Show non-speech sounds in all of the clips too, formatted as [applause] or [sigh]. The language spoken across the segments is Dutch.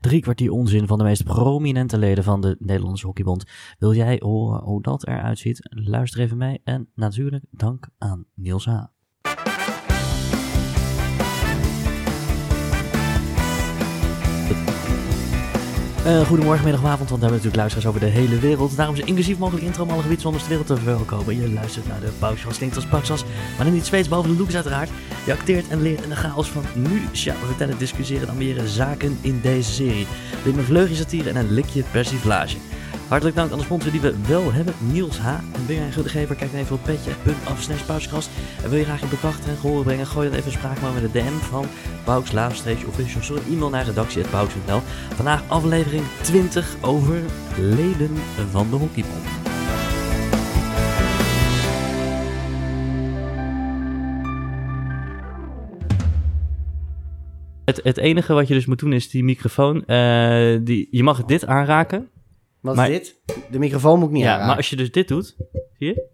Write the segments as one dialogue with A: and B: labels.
A: drie kwartier onzin van de meest prominente leden van de Nederlandse Hockeybond. Wil jij horen hoe dat eruit ziet? Luister even mee en natuurlijk dank aan Niels H. Eh, goedemorgen, middag, avond, want we hebben natuurlijk luisteraars over de hele wereld. Daarom is inclusief mogelijk intro om alle gebiedszonders ter wereld te verwelkomen. Je luistert naar de Pauwsjas, klinkt als Paksas, maar dan niet Zweeds boven de doekjes uiteraard. Je acteert en leert in de chaos van nu. Tja, we vertellen, discussiëren en ambiëren zaken in deze serie. Dit met vleugje satire en een likje persiflage. Hartelijk dank aan de sponsor die we wel hebben, Niels H. En ben jij een gundegever, kijk dan even op petje.af slash pauwsjas. En wil je graag je bedachten en gehoor brengen, gooi dan even een spraakmaal met de DM van Pauks-official. Stuur een e-mail naar redactie.pauks.nl. Vandaag aflevering 20 over leden van de hockeybond.
B: Het, het enige wat je dus moet doen is die microfoon. eh, die, je mag dit aanraken.
C: Wat
B: Maar-
C: is dit? De microfoon moet ik niet
B: Ja,
C: aanraken.
B: maar als je dus dit doet. Zie je?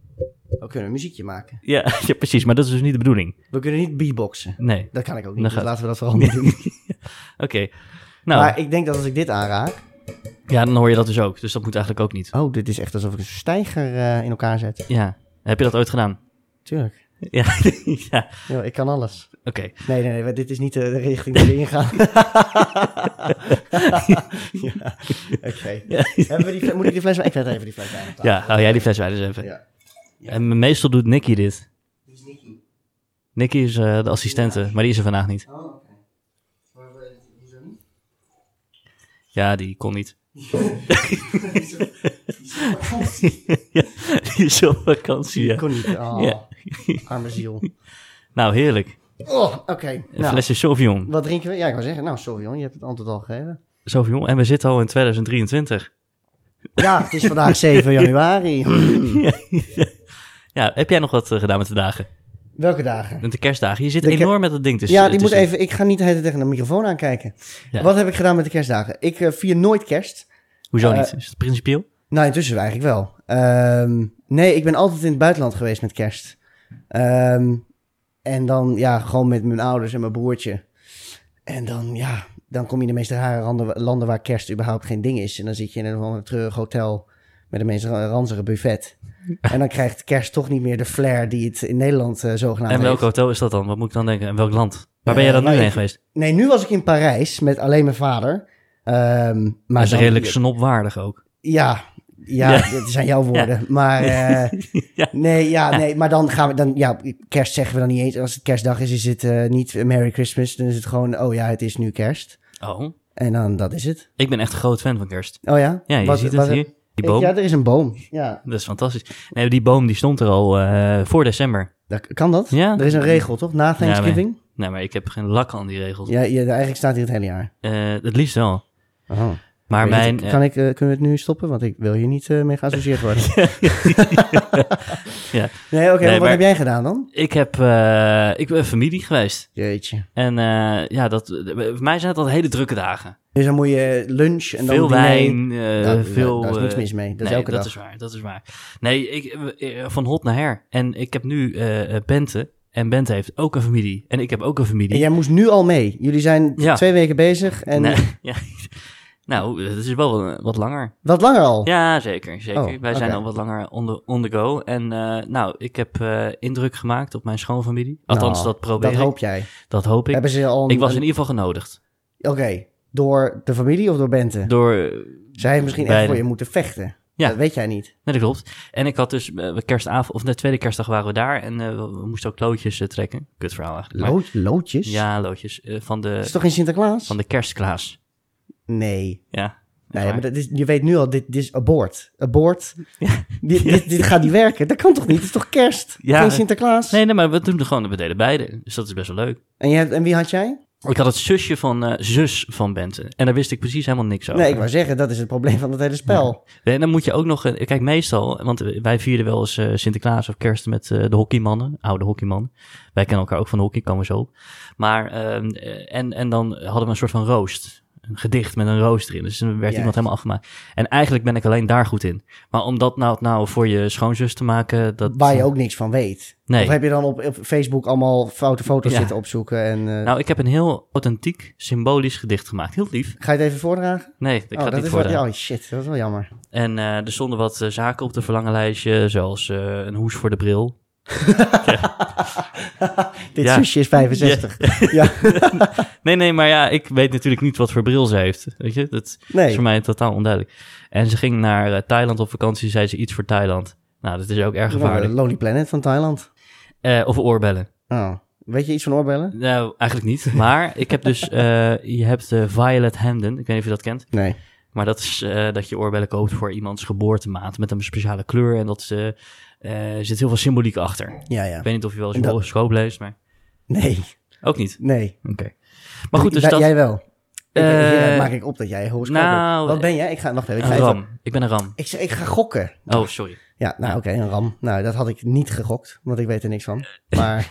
C: We kunnen een muziekje maken.
B: Ja, [laughs] ja, precies. Maar dat is dus niet de bedoeling.
C: We kunnen niet beatboxen.
B: Nee.
C: Dat kan ik ook niet,
B: Dan Nou
C: dus
B: gaat-
C: laten we dat vooral
B: [laughs]
C: niet doen.
B: Oké. Nou,
C: Maar ik denk dat als ik dit aanraak...
B: ja, dan hoor je dat dus ook. Dus dat moet eigenlijk ook niet.
C: Oh, dit is echt alsof ik een stijger eh, in elkaar zet.
B: Ja. Heb je dat ooit gedaan? [laughs]
C: Tuurlijk.
B: Ja. ja.
C: Ja, ik kan alles.
B: Oké.
C: Nee, nee, nee, dit is niet de, de richting die we
B: [laughs]
C: ingaan. [laughs] ja, oké. Hebben we die- Moet ik die fles... Ik zet even die fles bij.
B: Ja, hou jij die fles bij dus even.
C: Ja. Ja.
B: En meestal doet Nicky dit. Nicky is eh, de assistente, maar die is er vandaag niet. Ja, die kon niet. [laughs] ja, die is op vakantie.
C: Ik
B: ja.
C: kon niet. Oh,
B: Ja.
C: arme ziel.
B: Nou, heerlijk.
C: Oh, oké.
B: Een
C: Nou,
B: flesje Sauvignon.
C: wat drinken we? Ja, ik wou zeggen. Nou, sorry, jongen. Je hebt het antwoord al gegeven.
B: Sauvignon. En we zitten al in 2023.
C: Ja, het is vandaag 7 januari.
B: Ja, heb jij nog wat eh, gedaan met de dagen?
C: Welke dagen?
B: Met de kerstdagen. Je zit
C: De ke-
B: enorm met dat ding tussen.
C: Ja, die moet
B: tussen.
C: even. Ik ga niet de hele tijd tegen de microfoon aankijken.
B: Ja.
C: Wat heb ik gedaan met de kerstdagen? Ik eh, vier nooit kerst.
B: Hoezo
C: eh,
B: niet? Is het principieel?
C: Nou, intussen eigenlijk wel. Ehm, nee, ik ben altijd in het buitenland geweest met kerst. Ehm, en dan, ja, gewoon met mijn ouders en mijn broertje. En dan, ja, dan kom je in de meeste rare randen- landen waar kerst überhaupt geen ding is. En dan zit je in een of ander treurig hotel met een meest ra- ranzige buffet. En dan krijgt kerst toch niet meer de flair die het in Nederland eh, zogenaamd
B: En welk
C: heeft.
B: hotel is dat dan? Wat moet ik dan denken? En welk land? Waar ben
C: Eh,
B: jij dan nu
C: nou,
B: heen
C: ik-
B: geweest?
C: Nee, nu was ik in Parijs met alleen mijn vader. Ehm,
B: Maar
C: maar
B: dat is
C: dan-
B: redelijk snopwaardig ook. [laughs]
C: Ja, ja, dat zijn jouw woorden. Maar eh,
B: Ja.
C: nee, ja, nee, maar dan gaan we dan, ja, kerst zeggen we dan niet eens. Als het kerstdag is, is het eh, niet Merry Christmas. Dan is het gewoon, oh ja, het is nu kerst.
B: Oh,
C: En dan, dat is het.
B: ik ben echt een groot fan van kerst.
C: Oh ja?
B: Ja, je
C: Wat-
B: ziet het
C: wat-
B: hier. Die boom.
C: Ja, er is een boom. Ja,
B: Dat is fantastisch. Nee, die boom die stond er al eh, voor december.
C: dat, kan dat?
B: Ja.
C: Er is een regel, toch? Na Thanksgiving?
B: Nee, maar ik heb geen lak aan die regels.
C: Ja, ja, eigenlijk staat hier het hele jaar.
B: Eh, het liefst wel.
C: Oh.
B: Maar
C: Weet
B: mijn...
C: ik-
B: eh,
C: kan ik, eh, kunnen we het nu stoppen? Want ik wil hier niet eh, mee geassocieerd [laughs] worden.
B: [laughs] Ja.
C: Nee, oké, maar
B: Nee,
C: wat
B: maar-
C: heb jij gedaan dan?
B: ik heb... eh, ik ben familie geweest.
C: Jeetje.
B: En eh, ja, dat, voor mij zijn het al hele drukke dagen.
C: Dus dan moet je lunch en dan
B: veel
C: diner.
B: wijn, eh,
C: Nou,
B: veel...
C: daar is niks
B: eh,
C: mis mee. Dat is
B: nee,
C: elke
B: dat
C: dag.
B: is waar, dat is waar. Nee, ik, eh, eh, van hot naar her. En ik heb nu eh, eh, Bente. En Bente heeft ook een familie. En ik heb ook een familie.
C: En jij moest nu al mee. Jullie zijn
B: Ja.
C: twee weken bezig en
B: Nee, [laughs] ja. Nou, het is wel eh, wat langer.
C: wat langer al.
B: Ja, zeker. zeker.
C: Oh,
B: Wij zijn
C: oké.
B: al wat langer on the, on the go. En eh, nou, ik heb eh, indruk gemaakt op mijn schoonfamilie. Althans,
C: Nou,
B: dat probeer
C: Dat
B: ik.
C: hoop jij.
B: Dat hoop ik.
C: Hebben ze al een-
B: ik was in
C: een-
B: ieder geval genodigd.
C: Oké, door de familie of door Bente?
B: Door... eh,
C: Zij heeft misschien echt
B: Beide.
C: voor je moeten vechten.
B: Ja.
C: Dat weet jij niet.
B: Nee, dat klopt. En ik had dus eh, kerstavond, of de tweede kerstdag waren we daar. En eh, we we moesten ook loodjes eh, trekken. Kut verhaal eigenlijk. maar-
C: Lood, loodjes?
B: Ja, loodjes. eh, van,
C: Dat is
B: de,
C: toch in Sinterklaas?
B: van de kerstklaas.
C: Nee.
B: Ja.
C: Nee,
B: waar.
C: maar dat is, je weet nu al, dit, dit is abort.
B: [laughs]
C: Abort. Dit, dit, dit gaat niet werken. Dat kan toch niet? Het is toch kerst?
B: Ja.
C: Geen Sinterklaas?
B: Nee, nee, maar we doen er gewoon, we deden beide. Dus dat is best wel leuk.
C: En, je hebt, en wie had jij?
B: Ik had het zusje van eh, zus van Bente. En daar wist ik precies helemaal niks over.
C: Nee, ik wou zeggen, dat is het probleem van het hele spel.
B: En dan moet je ook nog... eh, Kijk, meestal... Want wij vierden wel eens eh, Sinterklaas of kerst met eh, de hockeymannen. Oude hockeymannen. Wij kennen elkaar ook van hockey, komen we zo op. Maar... ehm, eh, en, en dan hadden we een soort van roost. Eh, een gedicht met een roos erin. Dus dan werd
C: Juist.
B: iemand helemaal afgemaakt. En eigenlijk ben ik alleen daar goed in. Maar om dat nou, nou voor je schoonzus te maken, dat...
C: waar je ook niks van weet.
B: Nee.
C: Of heb je dan op, op Facebook allemaal foute foto's
B: Ja.
C: zitten opzoeken? En, eh,
B: Nou, ik heb een heel authentiek, symbolisch gedicht gemaakt. Heel lief.
C: ga je het even voordragen?
B: Nee, ik ga
C: oh,
B: het
C: dat
B: niet
C: is
B: voor.
C: wel, oh shit, dat is wel jammer.
B: En eh, er stonden wat eh, zaken op de verlangenlijstje, zoals eh, een hoes voor de bril.
C: Dit
B: Ja.
C: zusje is 65. Ja.
B: Nee, nee, maar ja, ik weet natuurlijk niet wat voor bril ze heeft. Weet je, dat is
C: Nee.
B: voor mij totaal onduidelijk. En ze ging naar eh, Thailand op vakantie, zei ze iets voor Thailand. Nou, dat is ook erg gevaarlijk.
C: Nou, Lonely Planet van Thailand.
B: Eh, of oorbellen.
C: Oh. Weet je iets van oorbellen?
B: Nou, eigenlijk niet. [laughs] Maar ik heb dus, eh, je hebt eh, Violet Hamden, ik weet niet of je dat kent.
C: Nee.
B: Maar dat is eh, dat je oorbellen koopt voor iemands geboortemaand met een speciale kleur. En dat is, eh, eh, zit heel veel symboliek achter.
C: Ja, ja.
B: Ik weet niet of je wel eens
C: En
B: je
C: dat-
B: horoscoop leest, maar
C: Nee,
B: ook niet.
C: nee.
B: Oké. Maar goed, dus
C: Jij-
B: dat...
C: Jij wel. Ik-
B: Eh,
C: ik- maak ik op dat jij horoscoop
B: nou,
C: bent. Wat ben jij? Ik ga, wacht even, ik ga
B: Een
C: even-
B: ram. Ik ben een ram.
C: Ik, zeg- ik ga gokken.
B: Oh, sorry.
C: [laughs]
B: [laughs]
C: Ja, nou oké, een ram. Nou, dat had ik niet gegokt, want ik weet er niks van.
B: [laughs]
C: Maar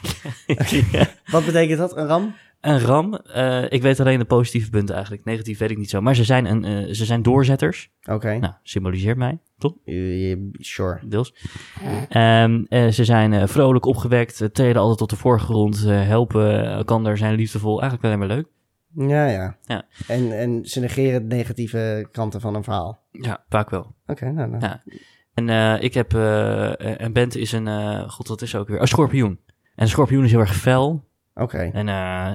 C: wat betekent dat, een ram?
B: Een ram, eh, ik weet alleen de positieve punten eigenlijk. Negatief weet ik niet zo. Maar ze zijn, een, eh, ze zijn doorzetters.
C: Oké,
B: Nou, symboliseert mij, toch?
C: Eh, sure.
B: Deels. Ehm, eh, ze zijn eh, vrolijk opgewekt, eh, treden altijd tot de voorgrond, eh, helpen elkander, zijn liefdevol. Eigenlijk alleen maar leuk.
C: Ja, ja.
B: Ja.
C: En, en ze negeren de negatieve kanten van een verhaal.
B: Ja, vaak wel.
C: Oké, nou, nou.
B: Ja. En eh, ik heb, eh, eh, en Bent is een, eh, god wat is ze ook weer, een schorpioen. En een schorpioen is heel erg fel.
C: Oké.
B: En eh,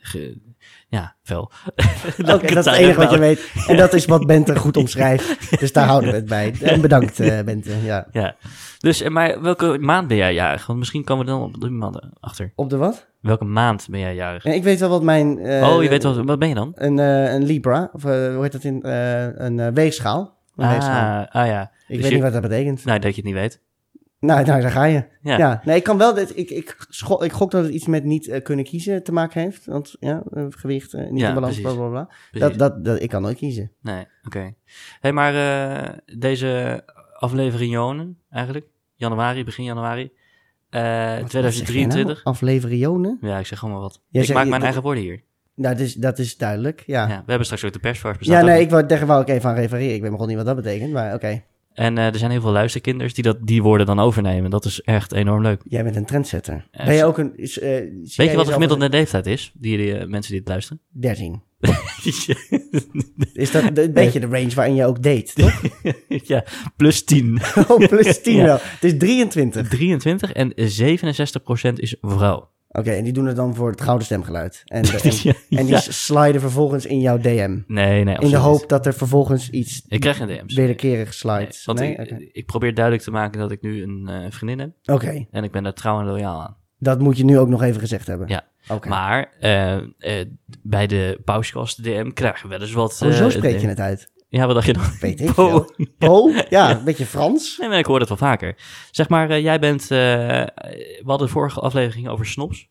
B: ge- ja, fel.
C: Oké,
B: het
C: dat is
B: daar
C: het enige wat
B: even
C: je weet. En dat is wat Bente goed omschrijft. Dus daar houden we het bij. En bedankt, eh, Bente. Ja.
B: Ja. Dus, eh, maar welke maand ben jij jarig? Want misschien komen we dan op drie maanden achter.
C: Op de wat?
B: Welke maand ben jij jarig?
C: Eh, Ik weet wel wat mijn... eh,
B: oh, je weet wel, wat ben je dan?
C: Een, eh, een Libra, of eh, hoe heet dat in? eh, een eh, weegschaal. Een weegschaal.
B: Ah, ah ja.
C: Ik
B: dus
C: weet
B: je-
C: niet wat dat betekent.
B: Nou, dat je het niet weet.
C: Nou, nou daar ga je.
B: Ja.
C: Ja, nee, ik kan wel. dit- Ik, ik, scho- ik gok dat het iets met niet eh, kunnen kiezen te maken heeft. Want ja, eh, gewicht, eh, niet
B: Ja,
C: in balans,
B: precies.
C: bla bla bla. Dat,
B: Precies.
C: dat, dat, ik kan nooit kiezen.
B: Nee, oké. hey, maar eh, deze aflevering Jonen, eigenlijk, januari, begin januari, eh,
C: Wat zeg
B: 2023.
C: jij nou? Afleverionen?
B: Ja, ik zeg gewoon maar wat.
C: Jij
B: ik
C: zegt-
B: maak mijn
C: dat-
B: eigen woorden hier.
C: Nou, dat is, dat is duidelijk, ja.
B: Ja.
C: Ja,
B: we hebben straks ook de persvars bestaat ook
C: nee,
B: niet.
C: ik wou, daar wou ik even aan refereren. Ik weet nog niet wat dat betekent, maar oké.
B: En eh, er zijn heel veel luisterkinders die dat, die woorden dan overnemen. Dat is echt enorm leuk.
C: Jij bent een trendsetter.
B: Eh,
C: ben je
B: zo-
C: ook een... is, eh, zie jij
B: Weet je wat
C: jezelf
B: de gemiddelde leeftijd is? Die, die eh, mensen die het luisteren. [laughs]
C: als- 13. Is dat de- een beetje de range waarin je ook date, toch?
B: ja, plus 10.
C: [laughs] Oh, plus 10
B: [laughs] Ja.
C: wel. Het is 23.
B: 23 en 67% is vrouw.
C: Oké, en die doen het dan voor het gouden stemgeluid. En, de- en,
B: [laughs] Ja,
C: en die
B: ja.
C: sliden vervolgens in jouw DM.
B: Nee, nee.
C: In de
B: absoluut
C: hoop
B: niet.
C: dat er vervolgens iets
B: Ik krijg een DM's.
C: wederkerig
B: Nee,
C: slides.
B: want
C: Nee?
B: ik,
C: Oké,
B: ik probeer duidelijk te maken dat ik nu een eh, vriendin heb.
C: Oké,
B: En ik ben daar trouw en loyaal aan.
C: dat moet je nu ook nog even gezegd hebben.
B: Ja.
C: Oké.
B: Maar eh, eh, bij de pauskast DM krijgen we wel eens wat...
C: Hoezo
B: eh,
C: spreek je
B: eh,
C: het
B: [laughs]
C: uit?
B: Ja, wat dacht je dan?
C: Weet ik
B: Po.
C: veel. Po? Ja, een beetje Frans.
B: Nee, maar ik hoor dat wel vaker. Zeg maar, eh, jij bent... eh, we hadden de vorige aflevering over snobs.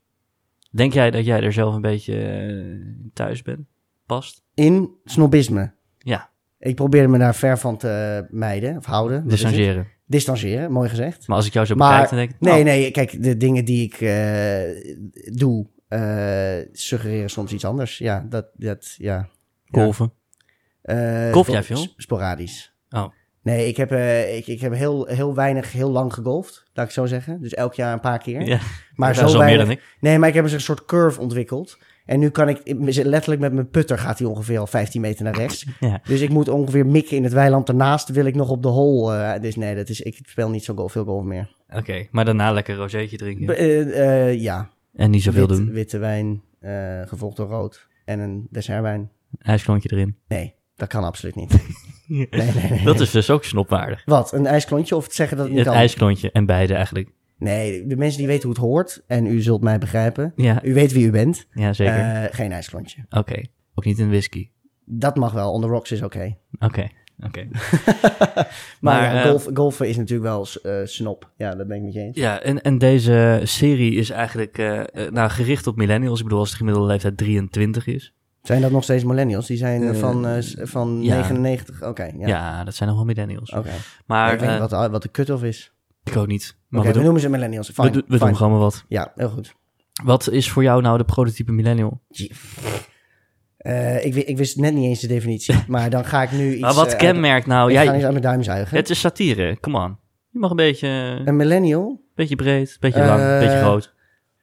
B: Denk jij dat jij er zelf een beetje eh, thuis bent? Past?
C: In snobisme.
B: Ja.
C: Ik probeer me daar ver van te mijden of houden. Wat is het?
B: Distancieren.
C: Distancieren, mooi gezegd.
B: Maar als ik jou zo
C: Maar-
B: bekijk, dan denk ik...
C: Nee,
B: nou,
C: nee, kijk, de dingen die ik eh, doe eh, suggereren soms iets anders. Ja, dat, dat ja.
B: Golven.
C: Eh,
B: Golf
C: spo-
B: jij veel?
C: sp- Sporadisch.
B: Oh.
C: Nee, ik heb, eh, ik, ik heb heel, heel weinig, heel lang gegolfd, laat ik zo zeggen. Dus elk jaar een paar keer.
B: Ja, [laughs]
C: maar
B: dat is
C: zo
B: al meer
C: weinig.
B: dan ik.
C: Nee, maar ik heb dus een soort curve ontwikkeld. En nu kan ik, ik- letterlijk met mijn putter gaat hij ongeveer al 15 meter naar rechts.
B: [laughs] Ja.
C: Dus ik moet ongeveer mikken in het weiland. Daarnaast wil ik nog op de hole. eh, dus nee, dat is, ik speel niet zo golf, veel golf meer.
B: Oké, maar daarna lekker rozeetje drinken.
C: B- eh, eh, ja,
B: en niet zoveel
C: Wit-
B: doen.
C: witte wijn, eh, gevolgd door rood. En een dessertwijn.
B: IJsklontje erin.
C: Nee, dat kan absoluut niet. [laughs] nee, nee, nee, nee.
B: Dat is dus ook snopwaardig.
C: Wat, een ijsklontje of het zeggen dat het niet
B: Het
C: kan?
B: ijsklontje en beide eigenlijk.
C: Nee, de mensen die weten hoe het hoort, en u zult mij begrijpen.
B: Ja,
C: U weet wie u bent.
B: ja zeker.
C: Eh, geen ijsklontje.
B: Oké. Ook niet in whisky.
C: Dat mag wel, on the rocks is oké.
B: Oké. Oké.
C: [laughs] Maar,
B: Maar,
C: ja,
B: eh,
C: golf, golfen is natuurlijk wel eh, snop. Ja, dat ben ik met je eens.
B: Ja, en, en deze serie is eigenlijk eh, eh, nou, gericht op millennials. Ik bedoel, als de gemiddelde leeftijd 23 is.
C: Zijn dat nog steeds millennials? Die zijn eh,
B: Eh,
C: van, eh, s- van
B: ja.
C: 99? Oké,
B: Ja,
C: ja.
B: dat zijn nog wel millennials.
C: Oké.
B: Maar
C: ik weet niet
B: eh,
C: wat, de- wat de cut-off is.
B: ik ook niet. Maar
C: Oké,
B: we,
C: we
B: doen,
C: noemen ze millennials.
B: we
C: Fine,
B: doen- we
C: fine.
B: doen gewoon maar wat.
C: Ja, heel goed.
B: Wat is voor jou nou de prototype millennial?
C: Jee. Eh, ik, wi- ik wist net niet eens de
B: [laughs]
C: definitie. Maar dan ga ik nu iets...
B: maar wat
C: eh, uit-
B: kenmerkt nou...
C: ik ga
B: Jij,
C: iets aan mijn duim zuigen.
B: het is satire, come on. Je mag een beetje, eh, een
C: Een millennial,
B: beetje breed, een beetje lang, een
C: Eh,
B: beetje groot.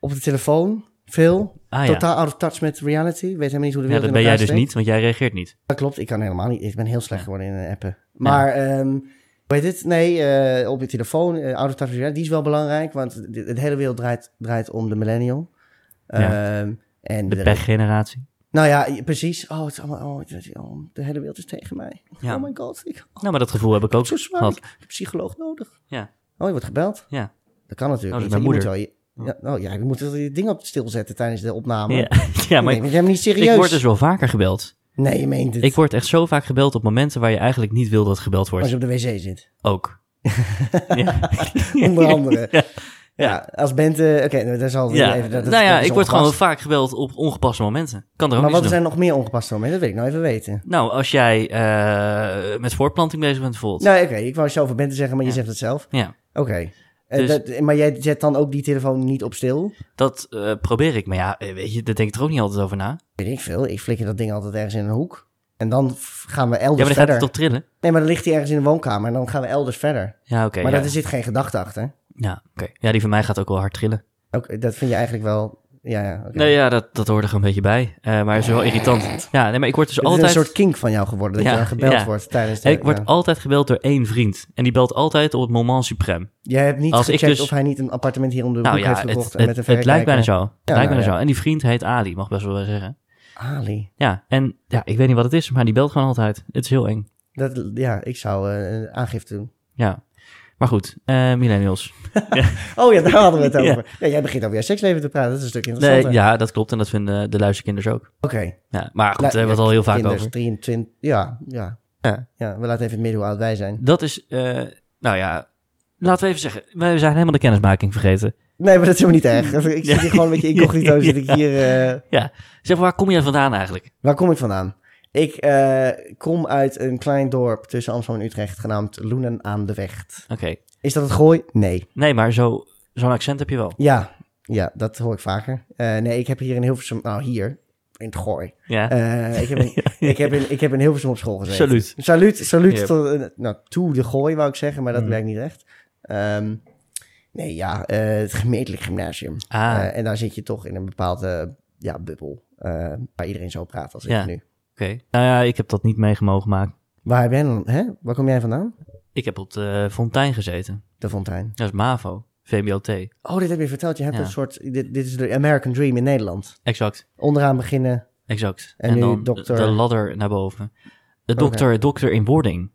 C: op de telefoon, veel.
B: Ah ja,
C: Totaal out of touch met reality. Weet helemaal niet hoe de
B: ja
C: wereld
B: dat ben
C: in
B: jij
C: elkaar
B: dus
C: steekt.
B: niet, want jij reageert niet.
C: Dat klopt, ik kan helemaal niet. Ik ben heel slecht geworden in eh, appen.
B: Ja.
C: Maar, ehm weet dit? Nee, eh, op je telefoon, eh out of touch, ja, die is wel belangrijk. Want de, de hele wereld draait, draait om de millennial.
B: Ja.
C: Ehm, en
B: De pechgeneratie.
C: Nou ja, je- precies. Oh, het is allemaal, oh, het is- oh, de hele wereld is tegen mij.
B: Ja.
C: Oh my god, ik oh,
B: Nou, maar dat gevoel heb ik ook.
C: zo zwaar.
B: gehad.
C: Ik heb een psycholoog nodig.
B: Ja.
C: Oh, je wordt gebeld?
B: Ja.
C: Dat kan natuurlijk.
B: Oh,
C: niet.
B: dat is
C: Je
B: mijn
C: moet wel je- ja, oh ja, je moet wel je ding op stil zetten tijdens de opname.
B: Ja, [laughs] ja maar
C: nee,
B: ik,
C: want jij bent niet serieus.
B: ik word dus wel vaker gebeld.
C: Nee, je meent het.
B: Ik word echt zo vaak gebeld op momenten waar je eigenlijk niet wil dat gebeld wordt.
C: Als je op de wc zit. [laughs]
B: Ook. [laughs] ja.
C: Onder andere.
B: Ja.
C: ja. als Bente... Oké, nou, daar
B: [laughs]
C: zal
B: Ja.
C: even... Dat, dat-
B: nou ja,
C: dat is
B: ik word gewoon
C: ongepast.
B: vaak gebeld op ongepaste momenten. Kan er ook
C: Maar
B: niks
C: wat
B: doen.
C: zijn nog meer ongepaste momenten? Dat wil ik nou even weten.
B: Nou, als jij eh, met voortplanting bezig bent bijvoorbeeld.
C: Nou, oké. Ik wou zo over Bente zeggen, maar
B: Ja.
C: je zegt het zelf.
B: Ja,
C: Oké. Eh,
B: Dus-
C: dat- maar jij zet dan ook die telefoon niet op stil?
B: dat eh, probeer ik. Maar ja, eh, weet je, daar denk ik er ook niet altijd over na.
C: Weet ik veel. Ik flikker dat ding altijd ergens in een hoek. En dan f- gaan we
B: Ja, maar
C: elders
B: dan gaat
C: verder.
B: het toch trillen?
C: Nee, maar dan ligt hij ergens in de woonkamer en dan gaan we elders verder.
B: Ja, oké.
C: maar
B: ja.
C: daar zit geen gedachte achter.
B: Ja, oké. ja, die van mij gaat ook wel hard trillen.
C: Ook, dat vind je eigenlijk wel... Ja, ja. oké.
B: Nee, ja, dat, dat hoort er gewoon een beetje bij. Eh, maar is wel irritant. Ja, nee, maar ik word dus
C: Het
B: altijd...
C: is een soort kink van jou geworden, dat
B: Ja,
C: je dan gebeld
B: ja.
C: wordt tijdens de...
B: Ik word
C: ja.
B: altijd gebeld door één vriend. En die belt altijd op het moment suprem.
C: Jij hebt niet
B: Als ik
C: gecheckt
B: dus-
C: of hij niet een appartement hier om de
B: Nou
C: hoek
B: ja,
C: heeft
B: het,
C: gekocht
B: het,
C: en met een
B: het lijkt bijna zo. Het lijkt
C: Ja, nou
B: bijna
C: ja.
B: zo. En die vriend heet Ali, mag best wel zeggen.
C: Ali.
B: Ja, en ja, ik weet niet wat het is, maar die belt gewoon altijd. Het is heel eng.
C: Dat, ja, ik zou eh, een aangifte doen.
B: Ja. Maar goed, eh, millennials.
C: Oh ja, daar hadden we het
B: [laughs] Ja.
C: over. Ja. jij begint over jouw seksleven te praten. Dat is een stuk
B: Nee,
C: interessanter.
B: ja, dat klopt. En dat vinden de luisterkinders ook.
C: Oké.
B: Ja, maar goed, daar
C: Nou,
B: hebben we het eh, al heel vaak
C: kinders,
B: over.
C: 23. Ja, ja.
B: Ja.
C: Ja, we laten even het midden hoe oud wij zijn.
B: Dat is, eh, nou ja, laten we even zeggen. We zijn helemaal de kennismaking vergeten.
C: Nee, maar dat is helemaal
B: [laughs]
C: niet erg. Ik zit hier gewoon een beetje incognito. Zit ik hier... eh,
B: Zeg, waar kom jij vandaan eigenlijk?
C: waar kom ik vandaan? Ik eh, kom uit een klein dorp tussen Amsterdam en Utrecht genaamd Loenen aan de Vecht.
B: Oké.
C: Is dat het gooi? Nee.
B: Nee, maar zo, zo'n accent heb je wel.
C: Ja, ja dat hoor ik vaker. Eh, nee, ik heb hier in Hilversum... Nou, hier. In het gooi.
B: Ja.
C: Eh, ik, heb
B: [laughs]
C: in, ik, heb in, ik heb in Hilversum op school gezeten.
B: Salut.
C: Salut, salut
B: Yep.
C: tot, eh, nou, toe de gooi wou ik zeggen, maar dat
B: Mm.
C: werkt niet echt. Ehm, nee, ja, eh, het gemeentelijk gymnasium.
B: Ah, oké.
C: Eh, en daar zit je toch in een bepaalde ja, bubbel, eh, waar iedereen zo praat als
B: Ja.
C: ik nu.
B: Nou ja, ik heb dat niet meegemogen maken.
C: Waar ben je dan, hè? Waar kom jij vandaan?
B: Ik heb op de Fontein gezeten.
C: De Fontein.
B: Dat is MAVO, VBOT.
C: Oh, dit heb je verteld. Je hebt
B: Ja.
C: een soort, dit, dit is de American Dream in Nederland.
B: Exact,
C: Onderaan beginnen.
B: exact.
C: En nu
B: dan
C: dokter-
B: de ladder naar boven. De
C: Oké.
B: dokter, dokter in boarding.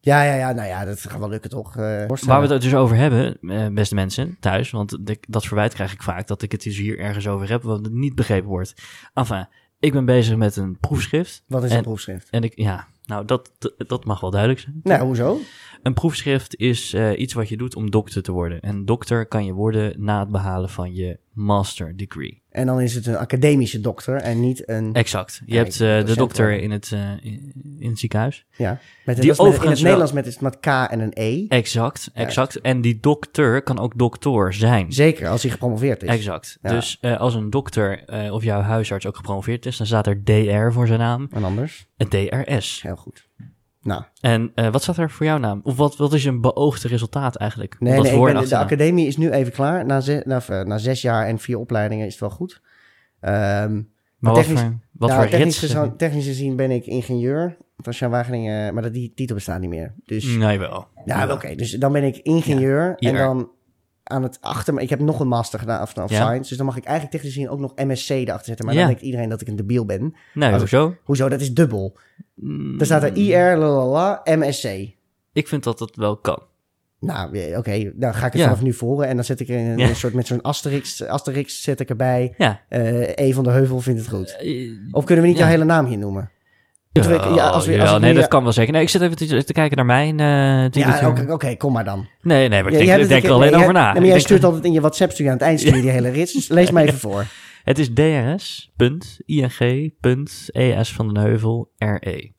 C: Ja, ja, ja, nou ja, dat gaat wel lukken toch? eh
B: Waar we het dus over hebben, eh, beste mensen, thuis. Want de- dat verwijt krijg ik vaak, dat ik het dus hier ergens over heb, wat niet begrepen wordt. Enfin, ik ben bezig met een proefschrift.
C: Wat is
B: en-
C: een proefschrift?
B: En ik, ja, nou, dat, dat- dat mag wel duidelijk zijn.
C: Nou, hoezo?
B: Een proefschrift is eh, iets wat je doet om dokter te worden. En dokter kan je worden na het behalen van je master degree.
C: En dan is het een academische dokter en niet een...
B: Exact. Je
C: Ja,
B: hebt
C: ik ben
B: eh, de
C: docent
B: dokter
C: geworden.
B: in het, eh, in, in het ziekenhuis.
C: Ja, met
B: Die
C: die overigens in
B: overigens
C: het
B: wel-
C: Nederlands met, is het met K en een E.
B: Exact, exact. En die dokter kan ook dokter zijn.
C: Zeker, als hij gepromoveerd is.
B: Exact.
C: Ja.
B: Dus eh, als een dokter eh, of jouw huisarts ook gepromoveerd is, dan staat er DR voor zijn naam
C: En anders?
B: en DRS.
C: Heel goed. Nou,
B: En eh, wat staat er voor jouw naam? Of wat, wat is je beoogde resultaat eigenlijk?
C: nee,
B: Wat
C: nee, ik
B: voor
C: ben-
B: en
C: de
B: achternaam?
C: academie is nu even klaar. Na, ze- na, eh, na zes jaar en vier opleidingen is het wel goed. Ehm,
B: Maar wat
C: technisch-
B: voor, wat
C: nou,
B: voor
C: technisch,
B: rits?
C: gezien, technisch gezien ben ik ingenieur. Dat was Wageningen, maar dat, die titel bestaat niet meer. Dus,
B: Nee, wel.
C: nou, oké, dus dan ben ik ingenieur en
B: IR.
C: dan aan het achter... Ik heb nog een master gedaan of, of
B: Ja.
C: science, dus dan mag ik eigenlijk technisch gezien ook nog MSc erachter zetten. Maar
B: Ja.
C: dan denkt iedereen dat ik een debiel ben.
B: Nee,
C: Als-
B: hoezo?
C: Hoezo, dat is dubbel.
B: Mm,
C: Dan staat er IR, lalala, MSC.
B: Ik vind dat dat wel kan.
C: Nou, eh, oké, dan ga ik het
B: Ja.
C: vanaf nu volgen. En dan zet ik er een,
B: Ja.
C: een soort met zo'n asterix, asterix zet ik erbij.
B: Ja.
C: Eh E van de Heuvel vindt het goed.
B: Eh,
C: Of kunnen we niet
B: Ja.
C: jouw hele naam hier noemen?
B: Ja,
C: Terwijl ik- ja, als we- als
B: jawel,
C: ik
B: nee,
C: nu-
B: dat kan wel zeker. Nee, ik zit even te, te kijken naar mijn eh
C: Ja,
B: tweetertje.
C: oké, oké, kom maar dan.
B: Nee, nee, maar ik
C: Ja,
B: denk,
C: jij
B: ik
C: hebt
B: denk
C: het-
B: er alleen
C: nee,
B: over
C: jij-
B: na.
C: nee,
B: Ik
C: maar jij
B: denk-
C: stuurt altijd in je WhatsApp-stuur aan het eind stuur je die hele rits. Dus
B: [laughs]
C: lees maar even voor.
B: Het is drs.ing.es van den Heuvel RE.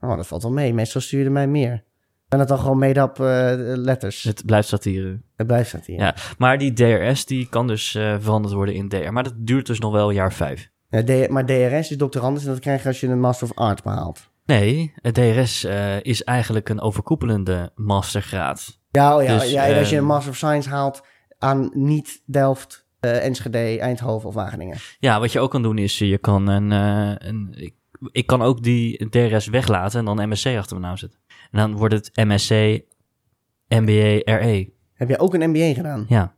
C: Oh, dat valt wel mee. Meestal stuurde mij meer. En dat dan gewoon made-up eh, letters.
B: Dus Het blijft satire.
C: Het blijft staat hier.
B: Ja. Maar die DRS die kan dus eh, veranderd worden in DR. Maar dat duurt dus nog wel een jaar vijf.
C: Ja, D- maar DRS is doctorandus en dat krijg je als je een Master of Arts behaalt.
B: Nee, het DRS eh, is eigenlijk een overkoepelende mastergraad.
C: Ja, oh ja,
B: Dus,
C: ja en als je
B: ehm,
C: een Master of Science haalt aan niet Delft, eh, Enschede, Eindhoven of Wageningen.
B: Ja, wat je ook kan doen is, eh, je kan een... eh, een ik, ik kan ook die DRS weglaten en dan MSC achter mijn naam zetten. En dan wordt het MSC, MBA, RE.
C: Heb jij ook een MBA gedaan?
B: E. Ja.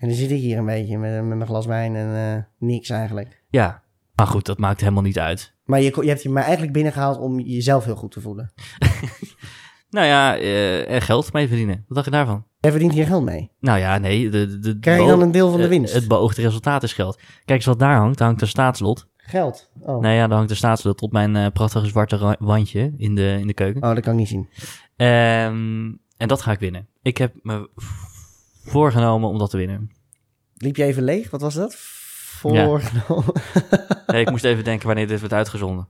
C: En dan zit ik hier een beetje met, met mijn glas wijn en eh, niks eigenlijk.
B: Ja. Maar goed, dat maakt helemaal niet uit.
C: Maar je, ko- je hebt je maar eigenlijk binnengehaald om jezelf heel goed te voelen.
B: Nou ja, eh, er geld mee verdienen. Wat dacht je daarvan?
C: Jij verdient hier geld mee.
B: Nou ja, nee. De, de, de-
C: Krijg je
B: beo-
C: dan een deel van de
B: eh,
C: winst?
B: Het beoogde resultaat is geld. Kijk eens wat daar hangt. Daar hangt een staatslot.
C: Geld. Oh.
B: Nou ja, daar hangt een staatslot op mijn eh, prachtige zwarte ra- wandje in de, in de keuken.
C: oh, dat kan ik niet zien.
B: Ehm, en dat ga ik winnen. Ik heb me voorgenomen om dat te winnen.
C: Liep je even leeg? Wat was dat?
B: Ja.
C: Voorgenomen.
B: Nee, ik moest even denken wanneer dit werd uitgezonden.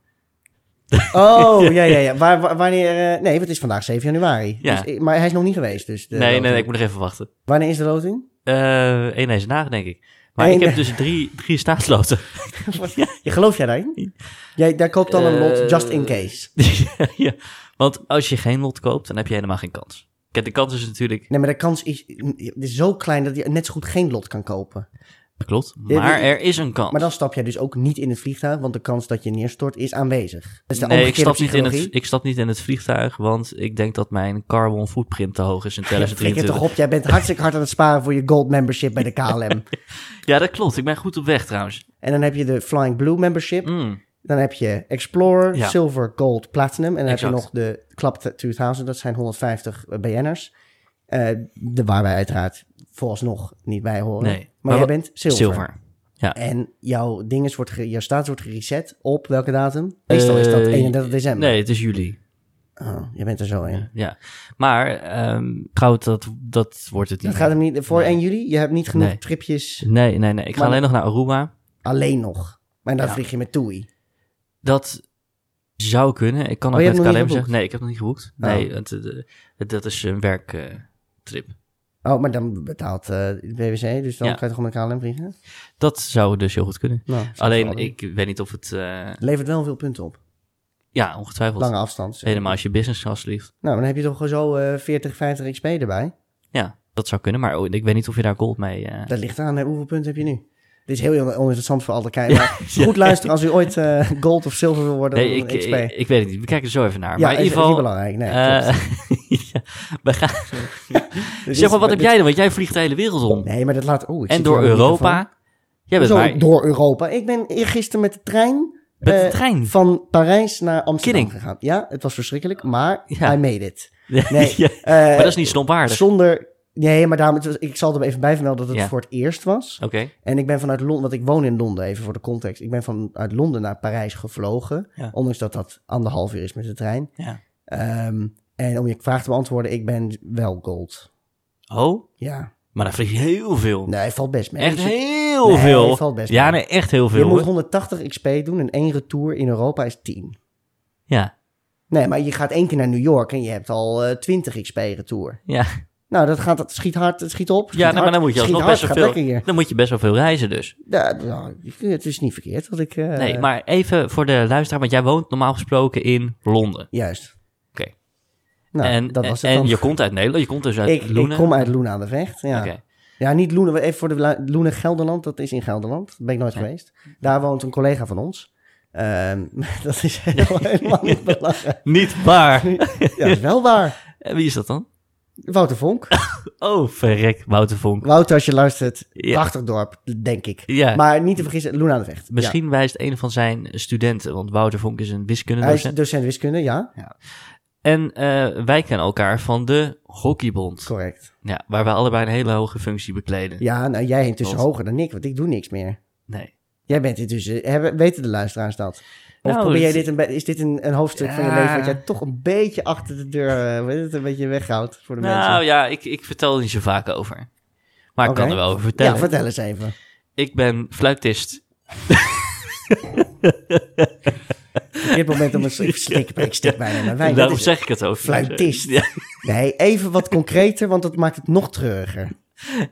B: [laughs]
C: [laughs] Oh, ja, ja, ja. Waar, waar- wanneer... eh, nee, want het is vandaag 7 januari.
B: Ja.
C: Dus ik- maar hij is nog niet geweest, dus... de
B: nee, nee,
C: loting.
B: nee, ik moet nog even wachten.
C: Wanneer is de loting?
B: Eh Eén deze nacht, denk ik. Maar
C: Eén
B: ik heb
C: dag.
B: dus drie, drie staatsloten. [laughs]
C: Je gelooft jij daarin? Jij, daar koopt dan een
B: Eh,
C: lot, just in case.
B: ja, want als je geen lot koopt, dan heb je helemaal geen kans. Kijk, de kans is natuurlijk...
C: Nee, maar de kans is, is zo klein dat je net zo goed geen lot kan kopen.
B: Klopt,
C: Ja,
B: maar
C: die-
B: er is een kans.
C: Maar dan stap jij dus ook niet in het vliegtuig, want de kans dat je neerstort is aanwezig. Dat is de
B: nee, ik
C: omgekeerde
B: stap, niet in het,
C: psychologie.
B: ik stap niet in het vliegtuig, want ik denk dat mijn carbon footprint te hoog is
C: [laughs]
B: in
C: Ja, Flik het
B: 2023.
C: toch op, jij bent hartstikke hard aan het sparen voor je gold membership bij de KLM.
B: Ja, dat klopt. Ik ben goed op weg trouwens.
C: en dan heb je de Flying Blue membership.
B: Mm,
C: Dan heb je Explorer,
B: Ja.
C: Silver, Gold, Platinum. En dan heb
B: Exact.
C: je nog de Club 2000, dat zijn 150 BN'ers. Eh, de waar wij uiteraard vooralsnog niet bij horen.
B: Nee.
C: Maar,
B: Maar
C: jij
B: wat-
C: bent
B: zilver.
C: zilver. En jouw dinges wordt ge- jouw status wordt gereset op welke datum? Meestal is dat
B: Eh,
C: 31 december.
B: Nee, het is juli.
C: Oh, je bent er zo in.
B: Ja. Maar ehm, goud, dat, dat wordt het niet.
C: Dat gaat hem niet voor
B: Nee.
C: 1 juli. Je hebt niet genoeg
B: Nee.
C: tripjes
B: Nee, nee, nee. Ik ga
C: Maar-
B: alleen nog naar Aruba.
C: alleen nog. Maar dan
B: Ja.
C: vlieg je met TUI.
B: Dat zou kunnen. Ik kan
C: Oh,
B: ook
C: je
B: met
C: hebt nog niet
B: KLM
C: geboekt?
B: zeggen. Nee, ik heb nog niet geboekt.
C: Oh.
B: Nee, want, eh, de- het- dat is een eh, werktrip.
C: Oh, maar dan betaalt eh de BWC, dus dan
B: Ja.
C: kan je toch met KLM vliegen?
B: dat zou dus heel goed kunnen.
C: Nou, dat zou wel
B: Alleen,
C: doen.
B: ik weet niet of het... eh,
C: Levert wel veel punten op.
B: ja, ongetwijfeld.
C: Lange afstand. zeg.
B: Helemaal als je business class vliegt.
C: Nou, dan heb je toch gewoon zo eh 40, 50 XP erbij.
B: Ja, dat zou kunnen. Maar oh, ik weet niet of je daar gold mee... eh,
C: Dat ligt aan. hè, Hoeveel punten heb je nu? Dit is heel oninteressant voor
B: [laughs]
C: alle kijkers. maar Goed luisteren als u ooit eh, gold of zilver wil worden. eh,
B: nee,
C: Nee,
B: ik,
C: XP.
B: ik, ik weet het niet. We kijken er zo even naar.
C: ja,
B: maar in
C: is-
B: ieder
C: is niet
B: geval...
C: belangrijk. Nee, klopt.
B: [laughs] eh, ja, we gaan,
C: Dit
B: zeg
C: is-
B: maar, wat heb
C: dit-
B: jij dan? Want jij vliegt de hele wereld om.
C: Nee, maar dat laat... Oeh, ik
B: en
C: zit
B: door
C: hier aan de microfoon.
B: Europa. Jij bent
C: Zo,
B: maar
C: door Europa. Ik ben gisteren met de trein
B: met de
C: eh,
B: trein.
C: van Parijs naar Amsterdam
B: Kidding.
C: gegaan. Ja, het was verschrikkelijk, maar
B: Ja.
C: I made it.
B: Nee,
C: nee,
B: [laughs] ja,
C: Eh,
B: maar dat is niet snopwaardig.
C: Zonder... Nee, maar daarom, het was- ik zal er even bij vermelden dat het
B: Ja.
C: voor het eerst was.
B: Oké.
C: En ik ben vanuit Londen, want ik woon in Londen, even voor de context. Ik ben vanuit Londen naar Parijs gevlogen.
B: Ja.
C: Ondanks dat dat anderhalf uur is met de trein.
B: Ja.
C: Ehm, en om je vraag te beantwoorden, ik ben wel gold.
B: Oh,
C: Ja.
B: maar dan vlieg je heel veel.
C: Nee, valt best mee.
B: echt
C: Dus je-
B: heel
C: Nee,
B: veel.
C: valt best
B: ja,
C: mee.
B: nee, echt heel
C: je
B: veel.
C: moet
B: hoor.
C: 180 XP doen en één retour in Europa is 10.
B: Ja,
C: Nee, maar je gaat één keer naar New York en je hebt al eh 20 XP retour.
B: ja.
C: Nou, dat, gaat, dat schiet hard, het schiet op. schiet
B: ja nee, maar
C: hard,
B: dan moet je
C: schiet
B: alsnog best
C: hard,
B: wel
C: gaat
B: veel.
C: lekker hier.
B: Dan moet je best wel veel reizen dus.
C: Ja, nou, ik- het is niet verkeerd wat ik... eh,
B: Nee, maar even voor de luisteraar, want jij woont normaal gesproken in Londen.
C: Juist.
B: Oké.
C: Nou,
B: en
C: dat was het
B: en
C: dan.
B: je komt uit Nederland, je komt dus uit
C: ik, ik
B: Loenen.
C: kom uit Loenen aan de Vecht, ja.
B: Oké.
C: Ja, niet Loenen, even voor de la- Loenen Gelderland, dat is in Gelderland. Daar ben ik nooit
B: Ja.
C: geweest. Daar woont een collega van ons. Ehm, [laughs] dat
B: [laughs]
C: is helemaal, helemaal niet belangrijk.
B: Niet waar. [laughs]
C: Ja, dat is wel waar.
B: En Wie is dat dan?
C: Wouter
B: [laughs]
C: Vonk.
B: Oh, verrek, Wouter Vonk.
C: Wouter, als je luistert,
B: Ja.
C: prachtig dorp, denk ik.
B: Ja.
C: Maar niet te vergissen, Loenen aan de Vecht. Ja.
B: Misschien wijst een van zijn studenten, want Wouter Vonk is een
C: Hij is
B: wiskundedocent.
C: docent wiskunde, ja.
B: En eh, wij kennen elkaar van de hockeybond.
C: Correct.
B: Ja, waar wij allebei een hele hoge functie bekleden.
C: Ja, nou jij intussen
B: Klopt.
C: hoger dan ik, want ik doe niks meer.
B: Nee.
C: Jij bent intussen, hebben, weten de luisteraars dat? Of
B: Nou,
C: probeer jij
B: het-
C: dit een, be- is dit een, een hoofdstuk van je
B: Ja.
C: leven wat jij toch een beetje achter de deur, eh, hoe heet het, een beetje weghoudt voor de
B: Nou
C: mensen?
B: ja, ik, ik vertel er niet zo vaak over. Maar ik
C: Oké.
B: kan er wel over vertellen.
C: Ja, vertel eens even.
B: Ik ben fluitist.
C: Op dit moment om een ik stik, ik stik bijna in mijn wijn.
B: Daarom
C: Wat is het?
B: zeg ik het ook. [laughs]
C: Fluitist.
B: Ja,
C: Nee, even wat concreter, want dat maakt het nog treuriger.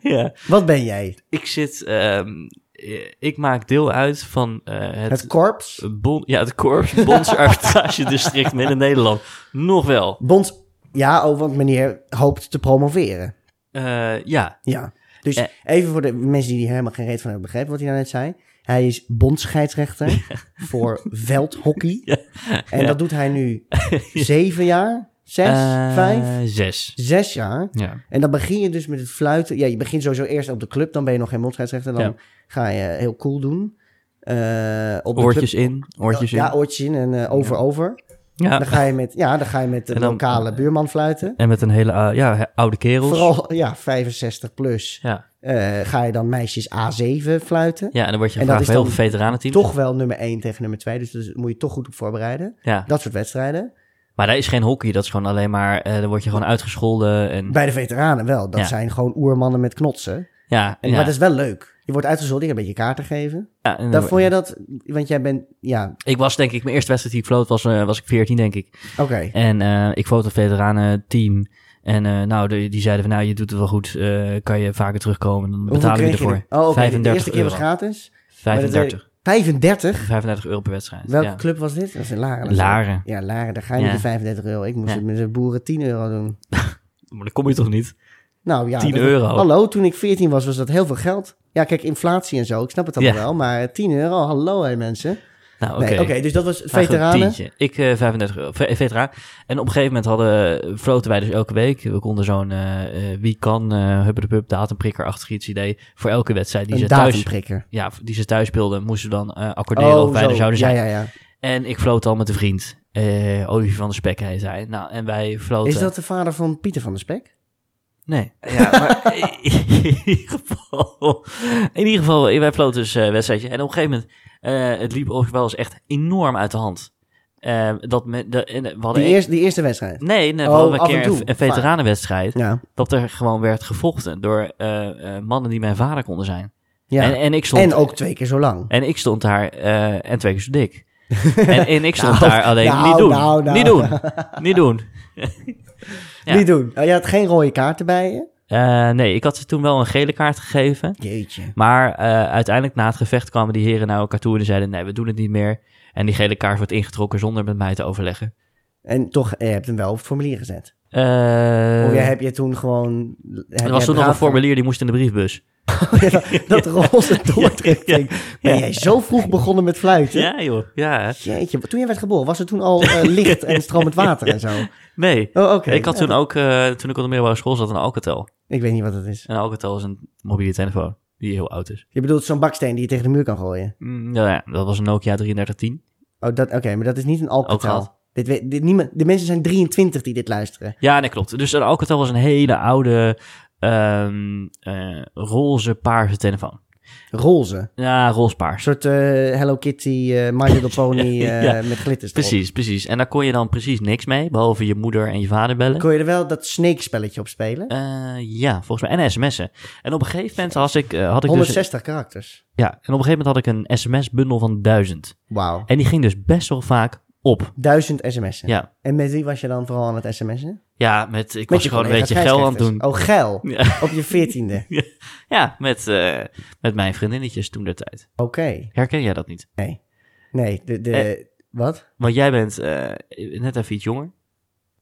B: ja.
C: Wat ben jij?
B: Ik zit ehm, eh, ik maak deel uit van eh, het,
C: Het korps.
B: bon, ja, het korps
C: [laughs]
B: bondsarbitrage district Midden-Nederland. Nog wel.
C: Bonds. Ja, oh, want meneer hoopt te promoveren.
B: Eh, ja,
C: Ja. Dus
B: Eh.
C: even voor de mensen die hier helemaal geen reet van hebben begrepen wat hij daarnet zei. Hij is
B: [laughs]
C: bondscheidsrechter voor veldhockey. En dat doet hij
B: [laughs]
C: nu zeven jaar, zes,
B: Eh,
C: vijf,
B: Zes.
C: zes jaar.
B: Ja.
C: En dan begin je dus met het fluiten. Ja, je begint sowieso eerst op de club. Dan ben je nog geen bondscheidsrechter. Dan
B: Ja.
C: ga je heel cool doen. Eh, op de
B: Oortjes
C: club-
B: in, oortjes in.
C: Ja, oortjes in en eh, over, over. Dan
B: Ja.
C: ga je met, ja, dan ga je met
B: [laughs]
C: de
B: En dan-
C: lokale buurman fluiten.
B: En met een hele eh, ja, he- oude kerels.
C: Vooral, ja, 65 plus.
B: Ja.
C: eh, ga je dan meisjes A7 fluiten.
B: ja, en dan word je
C: En dat
B: gevraagd
C: is
B: bij heel
C: dan
B: veel veteranenteams.
C: Toch wel nummer 1 tegen nummer 2. Dus daar moet je toch goed op voorbereiden.
B: Ja.
C: Dat soort wedstrijden.
B: Maar daar is geen hockey, dat is gewoon alleen maar, eh dan word je gewoon uitgescholden. En,
C: Bij de veteranen wel. Dat
B: Ja.
C: zijn gewoon oermannen met knotsen.
B: ja,
C: En,
B: ja,
C: Maar dat is wel leuk. Je wordt uitgezonden, je gaat een beetje kaarten geven.
B: ja, en-
C: Dan vond jij dat... Want jij bent... Ja,
B: Ik was denk ik, mijn eerste wedstrijd die ik floot was, eh, was ik 14 denk ik.
C: oké.
B: En eh, ik floot een veteranenteam. En eh, nou, de- die zeiden van, nou, je doet het wel goed, eh, kan je vaker terugkomen, dan
C: Hoeveel
B: betalen we je
C: kreeg
B: ervoor.
C: er? Oh, oké. De
B: 35
C: eerste keer was
B: euro.
C: gratis. maar dat
B: 35,
C: werd- 35?
B: 35 euro per wedstrijd.
C: Welke
B: ja.
C: club was dit? Dat is in Laren.
B: Laren.
C: Ja, Laren. Daar ga je
B: Ja.
C: met de 35 euro. Ik moest
B: Ja.
C: het met de boeren 10 euro doen.
B: Maar dan kom je toch niet?
C: Nou ja.
B: 10
C: dat-
B: euro.
C: Hallo, toen ik 14 was, was dat heel veel geld. Ja, kijk, inflatie en zo. Ik snap het allemaal
B: Ja.
C: wel. Maar 10 euro, hallo hé mensen.
B: Nou, oké.
C: Nee, Oké, dus dat was
B: Maar Nou, goed,
C: veteranen.
B: tientje. Ik eh 35 euro. Ve- veteraan. En op een gegeven moment hadden, eh, floten wij dus elke week. We konden zo'n eh, eh, wie kan, eh hubbe de pub, datumprikkerachtig iets idee. Voor elke wedstrijd die
C: Een
B: ze thuis...
C: datumprikker. Oh,
B: Ja, die ze thuis speelden, moesten we dan eh, accorderen of wij
C: zo.
B: er zouden zijn.
C: Ja, ja, ja.
B: En ik floot al met een vriend. eh, Olivier van der Spek, hij zei. Nou, en wij floten...
C: Is dat de vader van Pieter van der Spek?
B: Nee. Ja, maar
C: [laughs]
B: in ieder geval... In ieder geval, wij floten dus eh wedstrijdje. En op een gegeven moment, eh, het liep ook wel eens echt enorm uit de hand. Eh, dat me, de, en, we hadden
C: Die, eerste, die eerste wedstrijd.
B: Nee, nee
C: Oh,
B: we hadden
C: af
B: een
C: en
B: keer
C: toe.
B: een, een veteranenwedstrijd.
C: Ja.
B: Dat er gewoon werd gevochten door eh, eh, mannen die mijn vader konden zijn.
C: ja.
B: En,
C: En,
B: en, ik stond,
C: ook twee keer zo lang.
B: en ik stond daar, eh, en twee keer zo
C: [laughs]
B: dik. en, en ik stond
C: Nou,
B: daar alleen,
C: nou,
B: niet doen,
C: nou, nou.
B: niet
C: [laughs]
B: doen, niet doen. Ja.
C: Niet doen. Oh, je had geen rode kaarten bij je?
B: Eh, nee, ik had ze toen wel een gele kaart gegeven.
C: Jeetje.
B: Maar eh, uiteindelijk na het gevecht kwamen die heren naar elkaar toe en zeiden, nee, we doen het niet meer. En die gele kaart wordt ingetrokken zonder met mij te overleggen.
C: En toch, eh, je hebt hem wel op het formulier gezet.
B: Eh,
C: of Oh, jij, heb je toen gewoon... heb
B: er
C: jij
B: was toen nog een
C: braaf- [laughs]
B: formulier, die moest in de briefbus.
C: dat
B: [laughs]
C: roze doortrekking. Ben jij zo vroeg begonnen met fluiten?
B: Ja joh, ja.
C: Jeetje, toen jij werd geboren, was het toen al eh, licht en stromend water en zo?
B: Nee,
C: Oh, oké.
B: ik had
C: Ja,
B: toen ook, eh, toen ik op de middelbare school zat, een Alcatel.
C: Ik weet niet wat dat is.
B: En een Alcatel is een mobiele telefoon die heel oud is.
C: Je bedoelt zo'n baksteen die je tegen de muur kan gooien.
B: Mm, nou ja, dat was een Nokia 3310.
C: Oh, dat, oké, maar dat is niet een
B: Ook
C: alcohol. Dit, weet- dit, niemand, de mensen zijn 23 die dit luisteren.
B: Ja, nee, klopt. Dus een Alcatel was een hele oude ehm, eh, roze paarse telefoon.
C: Roze. Een
B: Ja, roze paars.
C: soort eh, Hello Kitty, eh My Little
B: [laughs]
C: Pony eh,
B: Ja.
C: met glitters erop.
B: Precies, precies. En daar kon je dan precies niks mee, behalve je moeder en je vader bellen.
C: Kon je er wel dat snake-spelletje op spelen?
B: Eh, ja, volgens mij. En sms'en. En op een gegeven moment had ik, eh, had ik dus...
C: 160 karakters.
B: Ja, en op een gegeven moment had ik een sms-bundel van duizend.
C: Wauw.
B: En die ging dus best wel vaak op.
C: Duizend sms'en.
B: Ja,
C: En met wie was je dan vooral aan het sms'en?
B: Ja, met, ik
C: Met
B: was gewoon een beetje
C: collega's,
B: geil aan het doen.
C: Oh, geil.
B: [laughs] Ja,
C: Op je veertiende.
B: ja met, eh, met mijn vriendinnetjes toen der tijd.
C: Oké.
B: Herken jij dat niet?
C: Nee. Nee, de... de
B: Eh.
C: Wat?
B: Want jij bent eh, net even iets jonger.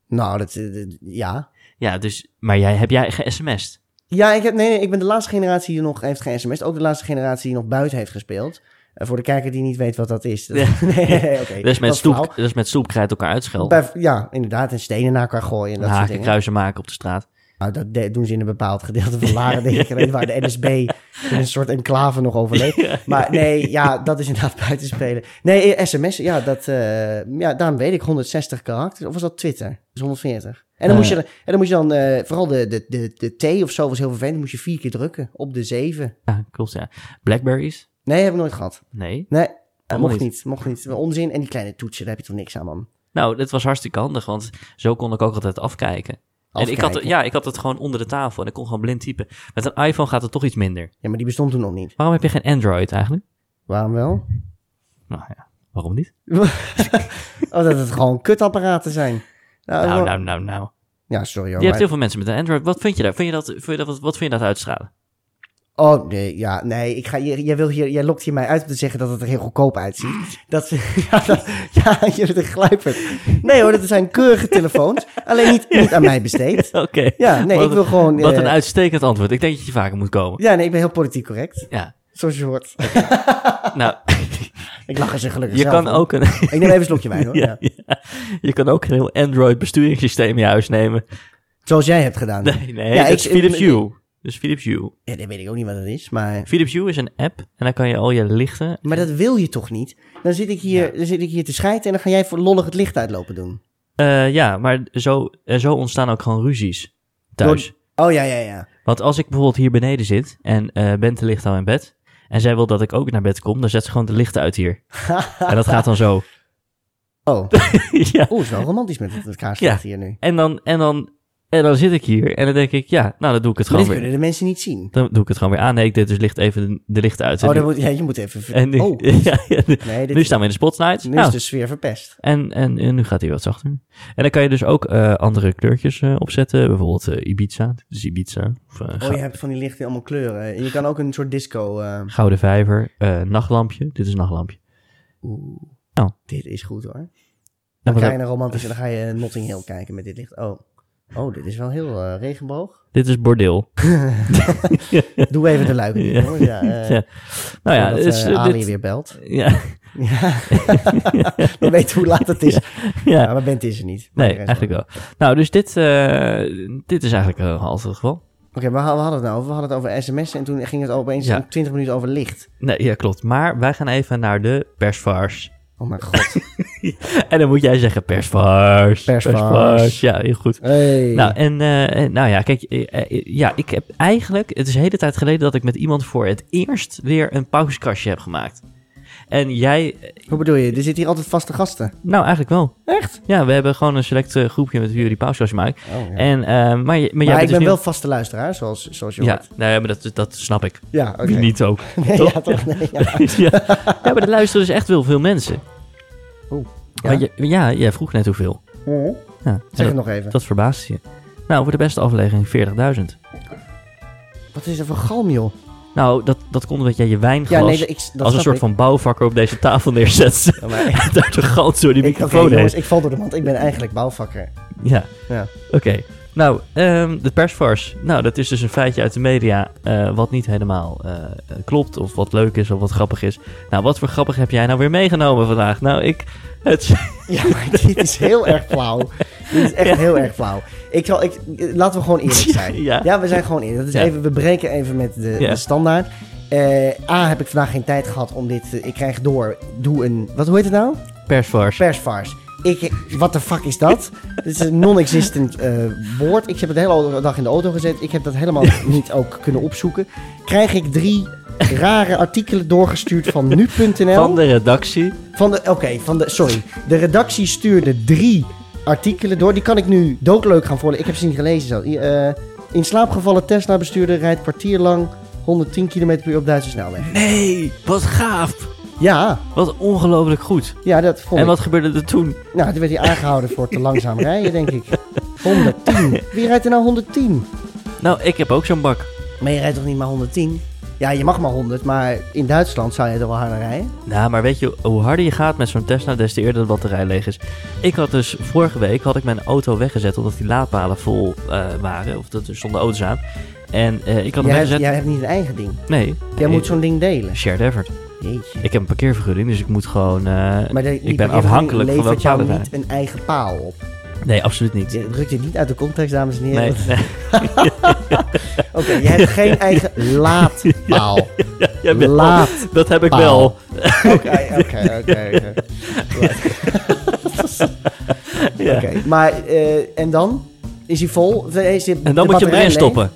C: Nou, dat... eh, dat- ja.
B: Ja, dus, maar jij, heb jij ge-sms'd?
C: Ja, ik, heb, nee, nee, ik ben de laatste generatie die nog heeft geen sms. Ook de laatste generatie die nog buiten heeft gespeeld. Eh, voor de kijker die niet weet wat dat
B: [laughs]
C: is. Dat- nee, [laughs] oké.
B: Dat is met,
C: was
B: stoep,
C: flauw.
B: dat is met stoepkrijt elkaar uitschelden.
C: Bij- ja, inderdaad. En stenen naar elkaar gooien en dat soort
B: Haken,
C: dingen.
B: kruisen maken op de straat.
C: Nou, dat de- doen ze in een bepaald gedeelte van Laren, denk ik. alleen Waar de NSB in een soort enclave nog overleeft. Maar nee, ja, dat is inderdaad [laughs] buitenspelen. Nee, eh, sms, ja, dat, eh, ja, daarom weet ik 160 karakters. Of was dat Twitter? Dat is 140. En dan
B: Ah,
C: moest je, en dan, moest je dan eh, vooral de, de, de, de T of zo was heel vervelend. Moest je vier keer drukken op de zeven.
B: Ja, klopt, ja. Blackberries?
C: Nee, heb ik nooit gehad.
B: Nee.
C: Nee, eh,
B: Helemaal
C: mocht
B: niet.
C: niet. Mocht niet. Onzin. En die kleine toetsen, daar heb je toch niks aan, man.
B: Nou, dat was hartstikke handig, want zo kon ik ook altijd afkijken. En ik had, het-
C: Afkijken.
B: ja, ik had het gewoon onder de tafel en ik kon gewoon blind typen. Met een iPhone gaat het toch iets minder.
C: Ja, maar die bestond toen nog niet.
B: Waarom heb je geen Android eigenlijk?
C: Waarom wel? [laughs]
B: Nou ja, waarom niet?
C: Oh, dat het gewoon kutapparaten zijn. Nou,
B: Nou,
C: wel-
B: nou, nou, nou.
C: Ja, sorry hoor.
B: Je
C: Oh, maar-
B: hebt heel veel mensen met een Android. Wat vind je daar? Vind je dat, vind je dat, wat, wat vind je dat uitstralen?
C: Oh nee, ja, nee. Ik ga, je- jij, wil hier, jij lokt hier mij uit om te zeggen dat het er heel goedkoop uitziet. Dat, [laughs] ja, dat, ja, je bent een gluiperd. Nee hoor, dat zijn keurige telefoons. Alleen niet, niet aan mij besteed.
B: Oké.
C: Ja, nee,
B: Wat
C: ik wil gewoon...
B: Wat
C: eh,
B: een uitstekend antwoord. Ik denk dat je vaker moet komen.
C: ja, nee, ik ben heel politiek correct.
B: Ja.
C: Zoals je hoort. [laughs]
B: Nou,
C: Ik lach er ze
B: [laughs]
C: gelukkig
B: je
C: zelf
B: kan
C: om.
B: ook een...
C: Ik neem even een slokje wijn
B: [laughs]
C: hoor.
B: Ja,
C: ja.
B: ja. Je kan ook een heel Android besturingssysteem in je huis nemen. [laughs]
C: Zoals jij hebt gedaan.
B: Nee, nee,
C: Ja,
B: dat
C: ik-
B: is Philips
C: ik-
B: Hue. Dus Philips Hue.
C: Ja, dat weet ik ook niet wat dat is, maar...
B: Philips Hue is een app en dan kan je al je lichten...
C: Maar dat wil je toch niet? Dan zit ik hier, dan zit ik hier te schijten en dan ga jij voor lollig het licht uitlopen doen.
B: Eh, ja, maar zo, en zo ontstaan ook gewoon ruzies thuis.
C: Oh ja, ja, ja.
B: Want als ik bijvoorbeeld hier beneden zit en eh Bente ligt al in bed... en zij wil dat ik ook naar bed kom, dan zet ze gewoon de lichten uit
C: [laughs]
B: hier. en dat gaat dan zo.
C: Oh,
B: [laughs]
C: [laughs]
B: ja.
C: oeh, het is wel romantisch met het, het kaarslicht hier nu.
B: En dan, en, dan, en dan zit ik hier en dan denk ik, ja, nou dan doe ik het
C: Maar
B: gewoon
C: dit
B: weer.
C: kunnen de mensen niet zien.
B: Dan doe ik het gewoon weer aan. Nee, ik deed dus licht even de, de lichten uit.
C: Oh,
B: En
C: dan
B: nu-
C: moet, ja, je moet even... ver-
B: en nu, [laughs]
C: oh,
B: ja, ja, nu-
C: nee, dit,
B: nu staan we in de spotlights.
C: nu
B: Nou,
C: is de sfeer verpest.
B: en, en, en nu gaat hij wat zachter. En dan kan je dus ook eh, andere kleurtjes eh, opzetten. Bijvoorbeeld eh, Ibiza. Dit is Ibiza. Of, eh,
C: Oh,
B: gou-
C: je hebt van die lichten allemaal kleuren. En je kan ook een soort disco... eh,
B: Gouden vijver. eh, nachtlampje. Dit is een nachtlampje.
C: Oeh,
B: Oh.
C: dit is goed hoor.
B: Ja,
C: Dan
B: maar
C: ga
B: dat-
C: je naar romantisch en dan ga je Notting Hill kijken met dit licht. Oh, oh dit is wel heel eh, regenboog.
B: Dit is bordeel.
C: Doe even de luiken dicht,
B: Ja.
C: hoor. Ja, eh,
B: [laughs] Ja. Nou ja,
C: voordat,
B: dus,
C: eh,
B: eh,
C: Ali
B: dit-
C: weer
B: [laughs]
C: belt.
B: ja,
C: Ja. [laughs] Je weet hoe laat het is.
B: ja.
C: Ja, maar Bent is er niet. Maar
B: Nee,
C: de rest
B: eigenlijk wel. Nou, dus dit, eh, dit is eigenlijk eh, altijd het geval.
C: wel. Oké, maar we hadden het nou over. We hadden het over sms en toen ging het opeens
B: Ja.
C: in 20 minuten over licht.
B: Nee, ja, klopt. Maar wij gaan even naar de persvars. [laughs]
C: Oh mijn god.
B: En dan moet jij zeggen persvars.
C: Persvars.
B: Ja, heel goed.
C: Hey.
B: Nou, en, eh, eh, nou ja, kijk, eh, eh, ja, ik heb eigenlijk, het is een hele tijd geleden dat ik met iemand voor het eerst weer een pauzekastje heb gemaakt. En jij, eh,
C: Hoe bedoel je? Er zitten hier altijd vaste gasten.
B: nou eigenlijk wel.
C: Echt?
B: Ja, we hebben gewoon een select eh, groepje met wie we die pauzekastje maken.
C: Oh, ja. Maar,
B: En, eh, maar, je- maar jij
C: ik
B: bent dus
C: ben
B: nu-
C: wel vaste luisteraar, zoals, zoals je
B: Ja,
C: hoort.
B: nou ja, maar dat, dat snap ik.
C: Ja, oké.
B: Wie niet ook.
C: Nee,
B: toch?
C: [laughs] ja, toch? Nee, ja.
B: ja. ja, maar er luisteren dus echt wel veel mensen.
C: Oeh,
B: Ja, ja, jij vroeg net hoeveel.
C: [laughs] Hm?
B: Ja, en
C: Zeg
B: dat,
C: het nog even.
B: dat verbaast je. Nou, voor de beste aflevering 40.000.
C: Wat is er voor galm, joh?
B: Nou, dat, dat komt omdat jij je
C: Ja,
B: wijnglas
C: nee, ik, dat
B: als een
C: snap
B: soort
C: ik.
B: van bouwvakker op deze tafel neerzet. [laughs]
C: Ja, maar ik-
B: En daar de gans door die
C: [laughs] ik, oké,
B: microfoon
C: jongens,
B: heen.
C: ik val door de mand. Ik ben eigenlijk bouwvakker.
B: Ja,
C: Ja.
B: oké. Nou, ehm, de persvars. Nou, dat is dus een feitje uit de media eh, wat niet helemaal eh, klopt. Of wat leuk is of wat grappig is. Nou, wat voor grappig heb jij nou weer meegenomen vandaag? Nou, ik... Het,
C: [laughs]
B: [laughs]
C: Ja, maar dit is heel erg flauw. Dit is echt heel erg flauw. Ik zal, ik, laten we gewoon
B: [laughs]
C: eerlijk zijn.
B: Ja.
C: we zijn gewoon eerlijk. Dat is
B: Ja.
C: even, we breken even met de,
B: Ja.
C: de standaard. Eh, A, heb ik vandaag geen tijd gehad om dit... eh, ik krijg door, doe een... Wat hoe heet het nou?
B: persvars.
C: Persvars. Ik, wat de fuck is dat? Dit is een non-existent eh, woord. Ik heb het de hele dag in de auto gezet. Ik heb dat helemaal niet ook kunnen opzoeken. Krijg ik drie rare artikelen doorgestuurd van nu.nl.
B: Van de redactie.
C: Van de, oké, van de, sorry. De redactie stuurde drie artikelen door. Die kan ik nu doodleuk gaan voorlezen. Ik heb ze niet gelezen. Zo. I- eh, in slaap gevallen Tesla-bestuurder rijdt kwartier lang 110 km per uur op Duitse snelweg.
B: Nee, wat gaaf.
C: Ja,
B: Wat ongelooflijk goed.
C: ja, dat vond
B: En
C: ik.
B: wat gebeurde er toen?
C: Nou, toen werd hij aangehouden voor te langzaam rijden, denk ik. 110. Wie rijdt er nou 110?
B: Nou, ik heb ook zo'n bak.
C: Maar je rijdt toch niet maar 110? Ja, je mag maar 100, maar in Duitsland zou je er wel harder rijden.
B: Nou, maar weet je, hoe harder je gaat met zo'n Tesla, des te eerder de batterij leeg is. Ik had dus vorige week had ik mijn auto weggezet omdat die laadpalen vol eh, waren. Of dat er stonden auto's aan. En eh, ik had hem
C: Jij hebt,
B: weggezet.
C: jij hebt niet een eigen ding.
B: Nee.
C: Jij
B: nee,
C: moet zo'n ding delen.
B: Shared effort.
C: Jeetje.
B: Ik heb een parkeervergunning, dus ik moet gewoon... eh,
C: Maar de, die
B: ik ben
C: parkeervergunning
B: afhankelijk van welke
C: levert jou
B: palen
C: niet een eigen paal op.
B: Nee, absoluut niet.
C: Je drukt dit niet uit de context, dames en heren.
B: Nee, nee.
C: [laughs]
B: [laughs]
C: Oké, je hebt geen eigen laadpaal.
B: [laughs] Ja, wel,
C: Laad.
B: dat heb ik
C: Paal.
B: wel.
C: Oké, oké, oké. oké.
B: [laughs] [laughs] Ja.
C: Oké, Maar, eh, en dan? Is hij vol? Of Is de
B: En
C: de
B: dan moet je hem
C: batterij
B: erin
C: leeg?
B: stoppen.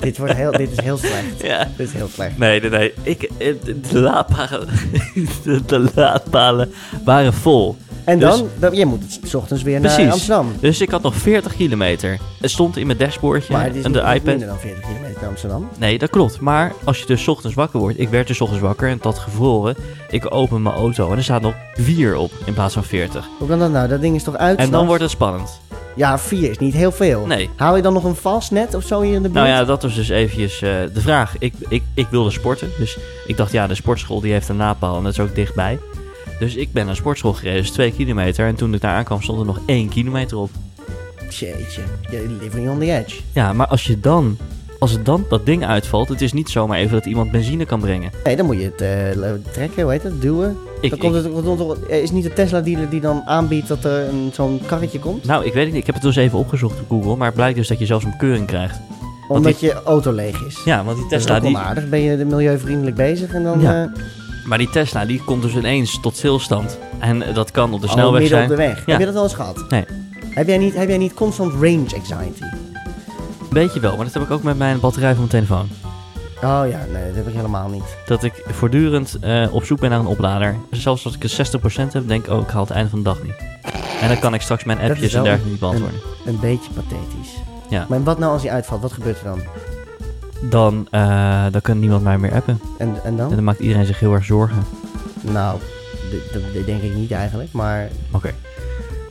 C: Dit, wordt heel, dit is heel slecht.
B: Ja.
C: Dit is heel
B: [laughs]
C: slecht.
B: Nee, nee, nee. Ik, eh, de, de laadpalen, [laughs] de, de laadpalen waren vol.
C: En
B: Dus-
C: dan? dan je moet het s ochtends weer
B: Precies.
C: naar Amsterdam.
B: Dus ik had nog 40 kilometer. Het stond in mijn dashboardje
C: Maar het is
B: en de
C: niet-
B: iPad.
C: minder dan 40 kilometer naar Amsterdam.
B: Nee, dat klopt. Maar als je dus 's ochtends wakker wordt. Ik werd dus 's ochtends wakker en het had gevroren. Ik open mijn auto en er staat nog 4 op in plaats van 40.
C: Hoe kan dat nou? Dat ding is toch uit?
B: En dan
C: s'nachts?
B: wordt het spannend.
C: Ja, vier is niet heel veel.
B: Nee.
C: Haal je dan nog een vast net of zo hier in de buurt?
B: Nou ja, dat was dus eventjes eh, de vraag. Ik, ik, ik wilde sporten, dus ik dacht ja, de sportschool die heeft een napaal en dat is ook dichtbij. Dus ik ben naar de sportschool gereden, dus twee kilometer. En toen ik daar aankwam stond er nog één kilometer op.
C: Jeetje, you're living on the edge.
B: Ja, maar als je dan, als het dan dat ding uitvalt, het is niet zomaar even dat iemand benzine kan brengen.
C: Nee, dan moet je het eh, trekken, hoe heet dat? Duwen.
B: Ik,
C: dan komt
B: ik-
C: het, dan komt er- eh, is niet de Tesla dealer die dan aanbiedt dat er een- zo'n karretje komt?
B: nou, ik weet het niet. Ik heb het dus even opgezocht op Google, maar het blijkt dus dat je zelfs een keuring krijgt.
C: Omdat je auto leeg is.
B: Ja, want die
C: dat is
B: Tesla,
C: ook wel
B: Nou, die,
C: aardig. Ben je milieuvriendelijk bezig en dan
B: Ja.
C: eh,
B: maar die Tesla, die komt dus ineens tot stilstand. En eh, dat kan op de
C: al
B: snelweg
C: Oh, midden
B: zijn.
C: op de weg.
B: Ja.
C: Heb je dat al eens gehad?
B: Nee.
C: Heb jij niet, heb jij niet constant range anxiety?
B: Beetje wel, maar dat heb ik ook met mijn batterij van mijn telefoon.
C: Oh ja, nee, dat heb ik helemaal niet.
B: dat ik voortdurend eh, op zoek ben naar een oplader. Zelfs als ik een 60% heb, denk ik, oh, ik haal het einde van de dag niet. En dan kan ik straks mijn
C: is
B: appjes en
C: wel
B: dergelijke niet beantwoorden.
C: Een beetje pathetisch.
B: Ja.
C: Maar wat nou als die uitvalt? Wat gebeurt er dan?
B: Dan, eh, dan kan niemand mij meer appen.
C: En, en dan?
B: En dan maakt iedereen zich heel erg zorgen.
C: Nou, d- d- dat denk ik niet eigenlijk, maar...
B: Oké.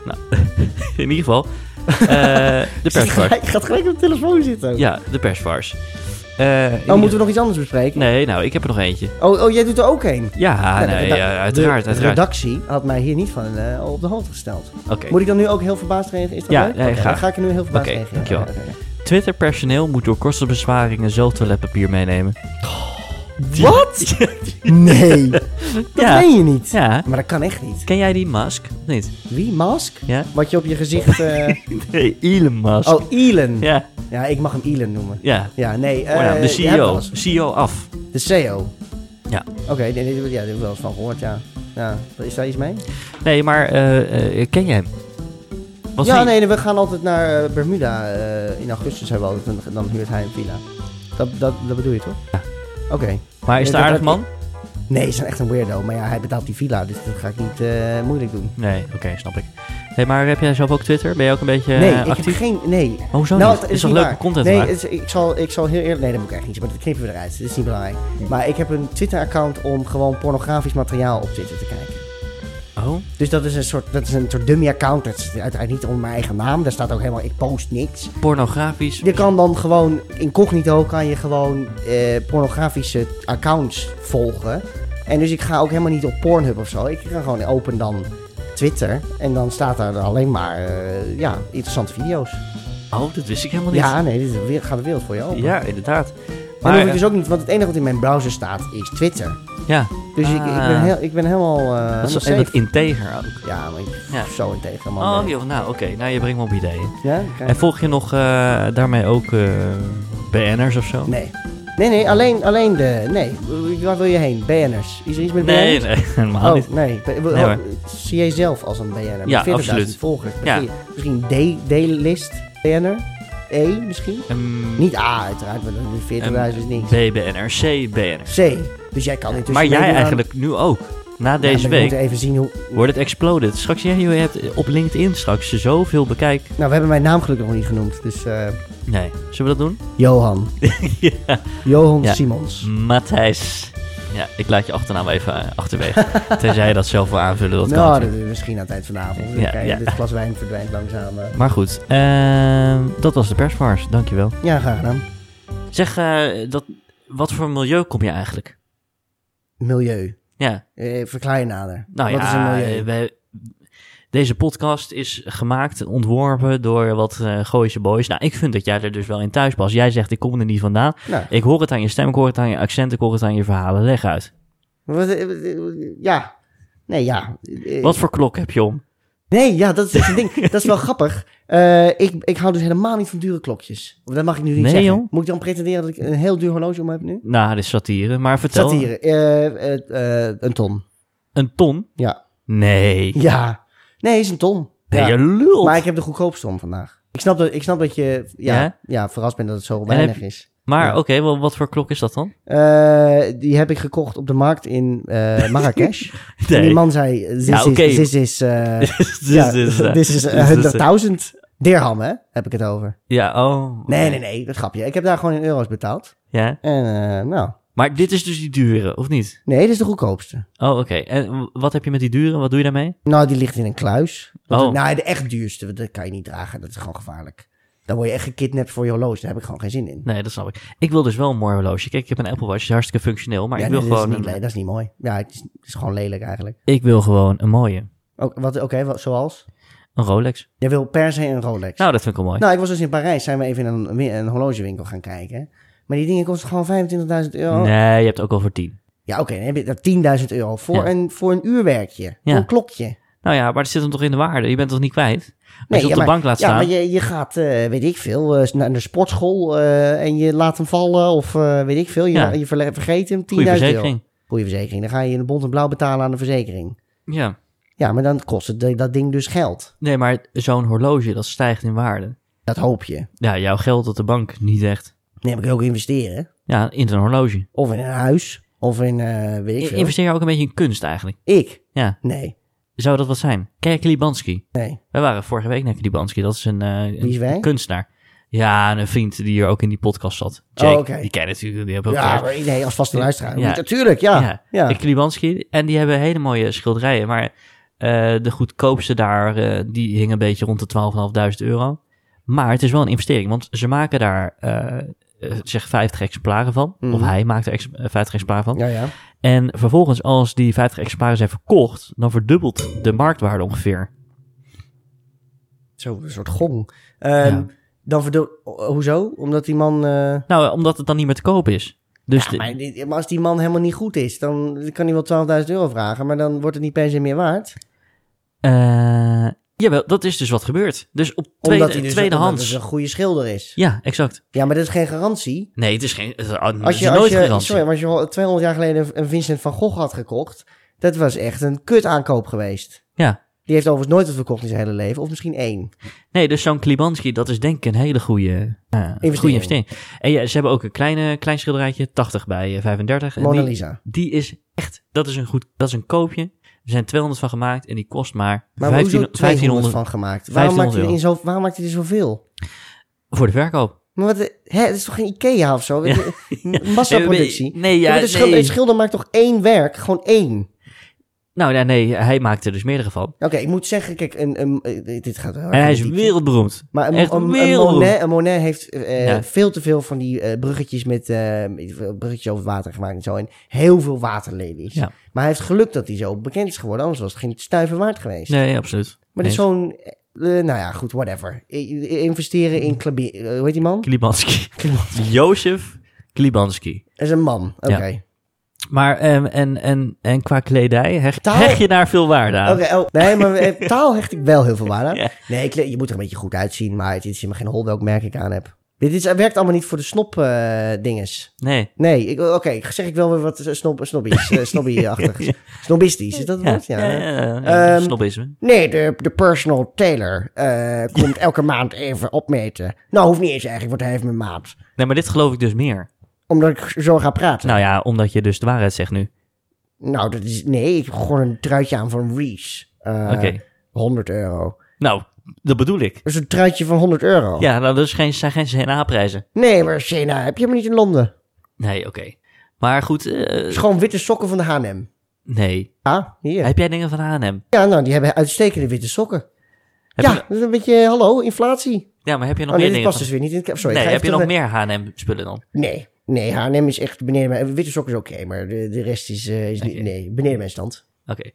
B: Nou, [laughs] in ieder geval. eh,
C: [laughs]
B: de persvars.
C: Ik gaat gelijk op de telefoon zitten. ook.
B: Ja, de persvars. Eh, in
C: Oh, moeten we
B: ieder-
C: nog iets anders bespreken?
B: Nee, nou, ik heb er nog eentje.
C: Oh, oh, jij doet er ook een?
B: Ja,
C: Nou, de
B: nee,
C: reda-
B: ja,
C: de
B: uiteraard, uiteraard.
C: redactie had mij hier niet van eh, op de hoogte gesteld.
B: Oké.
C: Moet ik dan nu ook heel verbaasd reageren? Is dat
B: Ja,
C: leuk?
B: nee,
C: Oké,
B: graag.
C: Dan ga ik er nu heel verbaasd
B: Oké,
C: reageren.
B: dankjewel.
C: Oké, oké, oké.
B: Twitter-personeel moet door kostenbesparingen zelf toiletpapier meenemen. [laughs]
C: Wat? Nee, dat
B: Ja.
C: meen je niet.
B: Ja.
C: Maar dat kan echt niet.
B: Ken jij die Musk? Of Niet?
C: [laughs] Wie? Mask?
B: Ja?
C: Wat je op je
B: [laughs]
C: gezicht... eh,
B: Nee, Elon Musk.
C: Oh, Elon. Ja.
B: Ja,
C: ik mag hem Elon noemen.
B: ja.
C: Ja, nee. eh,
B: Oh ja, de
C: die hebben we
B: CEO.
C: wel eens.
B: CEO E af.
C: De CEO.
B: Ja.
C: Oké, nee, nee, ja, daar hebben we wel eens van gehoord, ja. ja. Is daar iets mee?
B: Nee, maar eh, eh, ken jij hem? Was
C: ja,
B: hij-
C: nee, we gaan altijd naar eh, Bermuda. eh, in augustus hebben we altijd, een- dan huurt hij een villa. Dat, dat, dat bedoel je toch?
B: Ja.
C: Oké.
B: Maar is het een
C: Nee,
B: aardig
C: dat-
B: man?
C: Nee, is echt een weirdo. Maar ja, hij betaalt die villa, dus dat ga ik niet eh, moeilijk doen.
B: Nee, oké, snap ik. Hey, maar heb jij zelf ook Twitter? Ben je ook een beetje
C: nee,
B: eh,
C: ik
B: actief?
C: heb geen... Nee, Nou,
B: Oh, hoezo niet?
C: het
B: is toch
C: niet
B: leuke
C: waar.
B: content
C: Nee,
B: maken?
C: het is- ik, zal, ik zal heel eerlijk... Nee, dat moet ik echt niet. Maar dat knippen we eruit. Dat is niet belangrijk. Maar ik heb een Twitter-account om gewoon pornografisch materiaal op Twitter te kijken.
B: Oh,
C: Dus dat is een soort, dat is een soort dummy-account. Dat is uiteraard niet onder mijn eigen naam. Daar staat ook helemaal... Ik post niks.
B: pornografisch.
C: Je kan dan gewoon incognito kan je gewoon eh, pornografische accounts volgen. En dus ik ga ook helemaal niet op Pornhub of zo. Ik ga gewoon open dan Twitter. En dan staat daar alleen maar eh, ja, interessante video's.
B: Oh, dat wist ik helemaal niet.
C: Ja, nee, dit is de wereld- gaat de wereld voor je open.
B: Ja, inderdaad.
C: Maar,
B: Maar,
C: dat hoef
B: eh,
C: ik dus ook niet, want het enige wat in mijn browser staat is Twitter.
B: ja,
C: Dus ik, ik, ben,
B: Ah.
C: heel, ik ben helemaal. eh,
B: dat is
C: helemaal
B: en dat
C: safe.
B: integer ook.
C: Ja, maar ik,
B: Ja.
C: zo in tegen, man.
B: Oh, joh, nou oké, nou je brengt me op ideeën.
C: Ja?
B: En volg je nog eh, daarmee ook eh BN'ers of zo?
C: Nee. Nee, nee, alleen, alleen de. Nee, waar wil je heen? BN'ers. Is er iets met BN'ers?
B: nee, nee, helemaal
C: Oh,
B: niet.
C: nee. Be-
B: Nee, hoor.
C: Zie jij zelf als een BN'er?
B: Ja,
C: Met 40.000
B: absoluut.
C: volgers.
B: Ja.
C: Misschien, misschien D, D-list BN'er? E misschien?
B: Ehm,
C: Niet A uiteraard, want dan is 40.000
B: dus
C: is niks.
B: BBN'er, CBN'er.
C: C. Dus jij kan intussen...
B: Maar jij
C: meedoen aan-
B: eigenlijk nu ook. Na
C: Ja,
B: deze
C: maar We
B: week
C: moeten even zien hoe...
B: wordt het exploded. Straks, jij, je hebt op LinkedIn straks zoveel bekijk.
C: Nou, we hebben mijn naam gelukkig nog niet genoemd. Dus eh,
B: Nee, zullen we dat doen? [laughs]
C: Johan.
B: ja.
C: Johan
B: Ja. Mm,
C: Simons.
B: Matthijs. Ja, ik laat je achternaam even eh, achterwege. [laughs] Tenzij je dat zelf wil aanvullen, dat kan.
C: nou, dat
B: natuurlijk.
C: is misschien aan het eind vanavond.
B: Ja,
C: Ja, Kijk,
B: ja.
C: Dit glas wijn verdwijnt langzaam. eh.
B: Maar goed, ehm, dat was de persvars. Dankjewel.
C: Ja, graag gedaan.
B: Zeg, eh, dat, wat voor milieu kom je eigenlijk?
C: Milieu.
B: Ja,
C: Eh, verklaar je nader.
B: nou
C: Wat
B: ja,
C: is een milieu?
B: eh, wij- deze podcast is gemaakt en ontworpen door wat eh Gooise boys. Nou, ik vind dat jij er dus wel in thuis past. Jij zegt, ik kom er niet vandaan.
C: Nou,
B: Ik hoor het aan je stem, ik hoor het aan je accent, ik hoor het aan je verhalen. Leg uit.
C: Wat, eh, wat, eh, ja. Nee, ja. Eh,
B: Wat voor klok heb je om?
C: Nee, ja, dat is dus
B: [laughs]
C: het ding. Dat is wel grappig. Eh, ik, ik hou dus helemaal niet van dure klokjes. Dat mag ik nu niet
B: Nee,
C: zeggen.
B: joh.
C: Moet ik dan pretenderen dat ik een heel duur horloge om heb nu?
B: Nou, dit is satire, maar vertel.
C: Satire. Eh, eh, eh, een ton.
B: Een ton?
C: Ja.
B: Nee.
C: Ja. Nee, is een ton.
B: Ben
C: Ja.
B: je lul?
C: Maar ik heb de goedkoopste om vandaag. Ik snap dat, ik snap dat je ja,
B: Ja?
C: ja? verrast bent dat het zo
B: heb-
C: weinig is.
B: Maar
C: Ja.
B: oké, wel, wat voor klok is dat dan?
C: Eh, die heb ik gekocht op de markt in
B: [laughs]
C: eh, Marrakesh. En die man zei, this
B: Ja, oké. Dus
C: is, this is, eh,
B: Dit
C: ja, [laughs]
B: is, eh,
C: this is
B: dit is, eh,
C: 100.000 dirham, hè? Heb ik het over.
B: Ja, oh.
C: Nee, nee, nee, dat grapje. Ik heb daar gewoon in euro's betaald.
B: Ja,
C: En eh, nou,
B: Maar dit is dus die dure, of niet?
C: Nee, dit is de goedkoopste.
B: Oh, oké. En wat heb je met die dure? Wat doe je daarmee?
C: Nou, die ligt in een kluis. Want
B: Oh.
C: het- nou, de echt duurste, dat kan je niet dragen. Dat is gewoon gevaarlijk. Dan word je echt gekidnapt voor je horloge. Daar heb ik gewoon geen zin in.
B: Nee, dat snap ik. Ik wil dus wel een mooi horloge. Kijk, ik heb een Apple Watch, is hartstikke functioneel. Maar
C: Ja,
B: ik, wil
C: nee, dat,
B: gewoon
C: is niet, le-
B: een,
C: dat is niet mooi. Ja, het is, het is gewoon lelijk eigenlijk.
B: ik wil gewoon een mooie.
C: Ook- wat- Oké, wat- zoals?
B: Een Rolex.
C: Jij wil per se een Rolex.
B: Nou, dat vind ik wel mooi.
C: Nou, ik was dus in Parijs. Zijn we even in een, wi- een horlogewinkel gaan kijken. Maar die dingen kosten gewoon 25.000 euro.
B: nee, je hebt ook al voor tien.
C: Ja, oké. dan heb je dat 10.000 euro voor,
B: Ja.
C: een, voor een uurwerkje. Voor
B: Ja.
C: een klokje.
B: Nou ja, maar het zit hem toch in de waarde? Je bent toch niet kwijt? Als je op
C: ja,
B: de
C: maar-
B: bank laat
C: Ja,
B: staan.
C: maar je, je gaat, eh, weet ik veel, eh, naar de sportschool eh, en je laat hem vallen of eh, weet ik veel. Je,
B: Ja.
C: je verle- vergeet hem 10.000
B: Goede
C: euro.
B: verzekering.
C: Goeie verzekering. Dan ga je in de bond en blauw betalen aan de verzekering.
B: Ja.
C: Ja, maar dan kost het, eh, dat ding dus geld.
B: Nee, maar zo'n horloge, dat stijgt in waarde.
C: Dat hoop je.
B: Ja, jouw geld op de bank niet echt.
C: Nee, maar kun je ook investeren.
B: Ja, in een horloge.
C: Of in een huis. Of in, eh, weet ik
B: I-
C: veel.
B: Investeer je ook een beetje in kunst eigenlijk?
C: ik?
B: Ja.
C: Nee.
B: Zou dat wat zijn? Kijk, Libanski.
C: Nee.
B: Wij waren vorige week naar Libanski. Dat is een, eh, een-
C: is wij?
B: een kunstenaar. Ja, en een vriend die hier ook in die podcast zat. Jake,
C: Oh, oké.
B: die ken je natuurlijk. Die heb ook
C: Ja, maar nee, als vaste luisteraar.
B: Ja.
C: Natuurlijk, ja. ja.
B: Ja. Klibanski. En die hebben hele mooie schilderijen. Maar eh, de goedkoopste daar, eh, die hing een beetje rond de 12.500 euro. Maar het is wel een investering. Want ze maken daar eh, eh, zeg 50 exemplaren van. Of hij maakt er ex- eh, 50 exemplaren van.
C: Mhm. Ja, ja.
B: En vervolgens, als die 50 exemplaren zijn verkocht, dan verdubbelt de marktwaarde ongeveer.
C: Zo, een soort gong. Ehm,
B: Ja.
C: Dan verdoe... Hoezo? Omdat die man... eh,
B: Nou, eh, omdat het dan niet meer te koop is. Dus de-
C: Maar, dit- maar als die man helemaal niet goed is, dan kan hij wel 12.000 euro vragen, maar dan wordt het niet per se meer waard.
B: eh, jawel, dat is dus wat gebeurt. Dus op tweede,
C: omdat hij dus omdat
B: tweedehands.
C: het een goede schilder is.
B: Ja, exact.
C: Ja, maar dat is geen garantie.
B: Nee, het is geen. Het, het
C: Als
B: is
C: je,
B: nooit
C: als je,
B: garantie.
C: sorry, maar als je al 200 jaar geleden een- een Vincent van Gogh had gekocht, dat was echt een kut aankoop geweest.
B: Ja.
C: Die heeft overigens nooit wat verkocht in zijn hele leven, of misschien één.
B: Nee, dus zo'n Klibanski, dat is denk ik een hele goede, eh, goede investering. En ja, ze hebben ook een kleine, klein schilderijtje, 80 bij eh, 35. En
C: Mona
B: die,
C: Lisa.
B: die is echt, dat is een goed, dat is een koopje. Er zijn 200 van gemaakt en die kost maar,
C: Maar
B: 15
C: hoezo 200
B: 1500
C: van gemaakt? Waarom maakt, hij er
B: 1500
C: in zo, waarom maakt hij er zoveel?
B: voor de verkoop.
C: Maar wat, hè, het is toch geen Ikea of
B: [laughs]
C: zo?
B: Nee,
C: [laughs] Massaproductie.
B: Eh, nee,
C: Ja,
B: ja,
C: maar de schilder,
B: nee.
C: een schilder maakt toch één werk? Gewoon één.
B: Nou ja, nee, hij maakt er dus meerdere van.
C: Oké, ik moet zeggen, kijk, een, een, eh, dit gaat wel erg
B: En hij is
C: politiek.
B: wereldberoemd.
C: Maar een,
B: echt
C: een- een
B: wereldberoemd.
C: Monet, een Monet heeft eh,
B: Ja.
C: veel te veel van die eh, bruggetjes met eh, bruggetjes over het water gemaakt en zo. En heel veel waterlelies.
B: Ja.
C: Maar hij heeft geluk dat hij zo bekend is geworden, anders was het geen stuiver waard geweest.
B: Nee, absoluut.
C: Maar dit is
B: Nee.
C: zo'n, eh, nou ja, goed, whatever. I- i- Investeren in Klabi, eh, hoe heet die
B: [laughs]
C: man?
B: Klibanski. Jozef Klibanski.
C: Dat is een man, oké.
B: Ja. Maar ehm, en, en, en qua kledij hech,
C: Taal-
B: hech je daar veel waarde aan.
C: Oké, oh, nee,
B: [laughs]
C: maar eh, taal hecht ik wel heel veel waarde aan.
B: Ja.
C: Nee, ik, je moet er een beetje goed uitzien, maar het is helemaal geen hol welk merk ik aan heb. Dit is, werkt allemaal niet voor de snop eh, dinges.
B: Nee.
C: Nee, ik- oké, zeg ik wel weer wat eh, snob, snobbies,
B: [laughs]
C: eh, snobby-achtig. Snobistisch, is dat het woord? Ja.
B: ja, ja, ja.
C: Eh, Ehm,
B: Snobisme.
C: Nee, de, de personal tailor eh, komt elke maand even opmeten. Nou, hoeft niet eens eigenlijk, want hij heeft mijn maat.
B: Nee, maar dit geloof ik dus meer.
C: Omdat ik zo ga praten.
B: Nou ja, omdat je dus de waarheid zegt nu.
C: Nou, dat is... Nee, ik heb gewoon een truitje aan van Reese. Eh,
B: Oké.
C: 100 euro.
B: Nou, dat bedoel ik.
C: Dat is een truitje van 100 euro.
B: Ja, nou, dat is geen, zijn geen CNA-prijzen.
C: Nee, maar Sena heb je helemaal niet in Londen.
B: Nee, oké. Maar goed, eh,
C: Het is gewoon witte sokken van de H&M.
B: nee.
C: Ah, hier.
B: Heb jij dingen van H&M?
C: Ja, nou, die hebben uitstekende witte sokken.
B: Heb
C: ja,
B: je-
C: dat is een beetje, hallo, inflatie.
B: ja, maar heb je nog
C: Oh nee,
B: meer dingen
C: dit past
B: van...
C: dus weer niet in het... Sorry, ik
B: nee,
C: ga
B: heb je
C: even
B: nog
C: terug
B: meer H&M-spullen dan?
C: naar- Nee, nee, H&M is echt beneden mijn... Witte sokken is oké, maar de, de rest is, eh, is niet...
B: Oké.
C: Nee, beneden mijn stand.
B: Oké.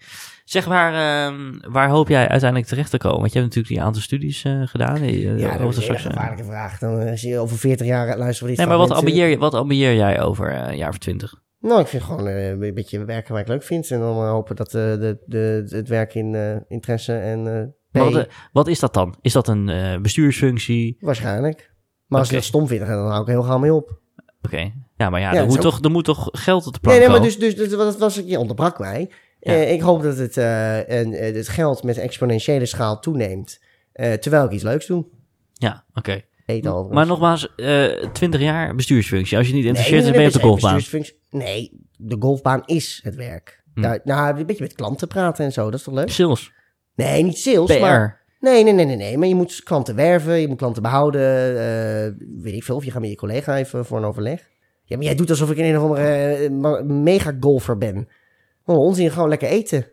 B: Zeg, waar, ehm, waar hoop jij uiteindelijk terecht te komen? Want je hebt natuurlijk die aantal studies eh, gedaan. eh,
C: Ja,
B: over
C: dat is een
B: straks,
C: hele
B: eh.
C: gevaarlijke vraag. Dan eh, zie je over 40 jaar luisteren we dit
B: Nee, maar wat
C: fragment, eh,
B: ambieer, je- wat ambieer jij over eh, een jaar of twintig?
C: Nou, ik vind gewoon eh, een beetje werken waar ik leuk vind. En dan eh, hopen dat eh, de, de, het werk in eh, interesse en eh
B: Wat,
C: pay-
B: eh, wat is dat dan? Is dat een eh, bestuursfunctie?
C: Waarschijnlijk. Maar als
B: Oké.
C: ik dat stom vind, dan hou ik er heel gauw mee op.
B: Oké. Ja, maar ja,
C: Ja,
B: er,
C: het
B: moet
C: is ook-
B: toch, er moet toch geld op de plank
C: Nee, nee, maar
B: komen?
C: dus, dus, dus dat was, je onderbrak mij.
B: Ja.
C: Eh, ik hoop dat het, eh, en, eh, het geld met exponentiële schaal toeneemt. eh, terwijl ik iets leuks doe. dus-
B: Ja, oké.
C: Eet al.
B: Maar nogmaals, eh 20 jaar bestuursfunctie. Als je niet interesseert, dan ben je op de golfbaan.
C: Nee, de golfbaan is het werk.
B: Hm.
C: Daar- nou, een beetje met klanten praten en zo, dat is toch leuk?
B: Sales,
C: Nee, niet sales, maar...
B: PR.
C: Nee, nee, nee, nee, nee. Maar je moet klanten werven, je moet klanten behouden. eh, weet ik veel, of je gaat met je collega even voor een overleg. Ja, maar jij doet alsof ik in een of andere eh, ma- mega-golfer ben. Oh, onzin, gewoon lekker eten.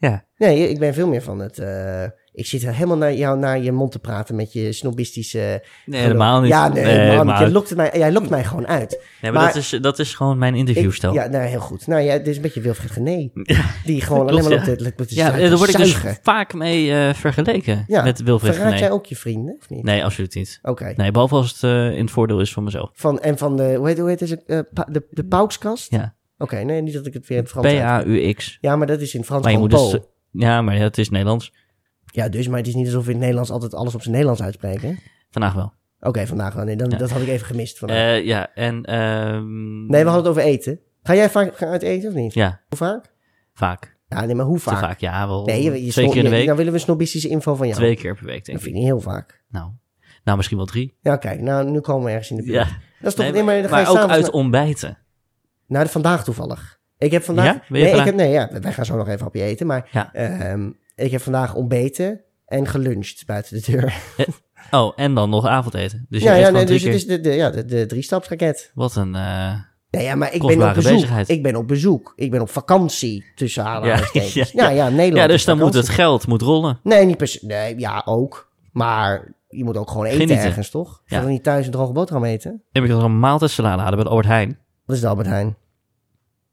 B: Ja.
C: Nee, ik ben veel meer van het... eh, ik zit helemaal naar jou naar je mond te praten met je snobistische...
B: Nee, helemaal niet.
C: Ja, nee, helemaal niet.
B: maar-
C: Jij lokt, het mij, jij lokt mij gewoon uit.
B: Nee, maar,
C: maar-
B: dat, is, dat is gewoon mijn
C: Ik-
B: interviewstijl.
C: Ja, nou, heel goed. Nou ja, dit is een beetje Wilfred Gené. Die gewoon
B: klopt,
C: alleen maar
B: ja.
C: op de... Op de
B: Ja,
C: zaken
B: daar word ik dus
C: zuigen.
B: vaak mee eh, vergeleken
C: Ja,
B: met Wilfred
C: Verraad
B: Gené.
C: jij ook je vrienden, of niet?
B: Nee, absoluut niet.
C: Oké.
B: Nee, behalve als het eh, in het voordeel is van mezelf.
C: Van, en van de, hoe heet, hoe heet het, eh, pa- de, de paukskast?
B: Mm. Ja.
C: Oké, nee, niet dat ik het weer in het Frans uit-
B: P-A-U-X.
C: Ja, maar dat is in het Frans
B: Maar je
C: gewoon
B: moet dus...
C: Paul.
B: Ja, maar het is Nederlands.
C: Ja, dus, maar het is niet alsof we in het Nederlands altijd alles op zijn Nederlands uitspreken. Oké,
B: Vandaag wel.
C: vandaag wel. Nee, dan,
B: Ja.
C: dat had ik even gemist. vandaag.
B: Eh, ja, en... ehm,
C: nee, we hadden het over eten. Ga jij vaak gaan uit eten of niet?
B: Ja,
C: Hoe vaak?
B: vaak.
C: Ja, nee, maar hoe
B: Te
C: vaak?
B: vaak, ja. Wel
C: Nee, je, je
B: twee
C: snob-
B: keer in de
C: nee,
B: week.
C: Dan willen we snobistische info van jou.
B: Twee keer per week, denk
C: Dat
B: ik.
C: vind ik heel vaak.
B: Nou, nou misschien wel drie.
C: Ja, kijk, nou, nu komen we ergens in de buurt.
B: Ja.
C: Dat is toch,
B: Nee,
C: nee, maar dan ga je
B: maar ook
C: s'avonds
B: uit
C: na-
B: ontbijten.
C: Nou, de- vandaag toevallig. Ik heb vandaag...
B: Ja? Ben je
C: nee,
B: vandaag-
C: Ik heb, nee, ja, wij gaan zo nog even een hapje eten. Maar
B: Ja.
C: ehm, ik heb vandaag ontbeten en geluncht buiten de deur.
B: Oh, en dan nog avondeten. Dus
C: [laughs]
B: je
C: ja,
B: eet
C: ja,
B: gewoon
C: nee,
B: drie
C: dus
B: keer.
C: het is de, de, ja, de, de drie-stapsraket.
B: Wat een... eh,
C: Nee, ja, maar ik ben
B: Kostbare
C: op bezoek.
B: bezigheid.
C: Ik ben op bezoek. Ik ben op vakantie tussen
B: [laughs]
C: aanhalingstekens.
B: Ja,
C: Ja,
B: ja,
C: ja, Nederland.
B: Ja,
C: is
B: dus dan moet
C: vakantie.
B: het geld moet rollen.
C: Nee, niet per se. Nee, ja, ook. Maar je moet ook gewoon eten
B: Genieten.
C: ergens, toch? Je
B: Ja.
C: gaat toch niet thuis een droge boterham eten?
B: Heb ik nog een maaltijdsalade hadden bij de Albert Heijn.
C: Wat is de Albert Heijn?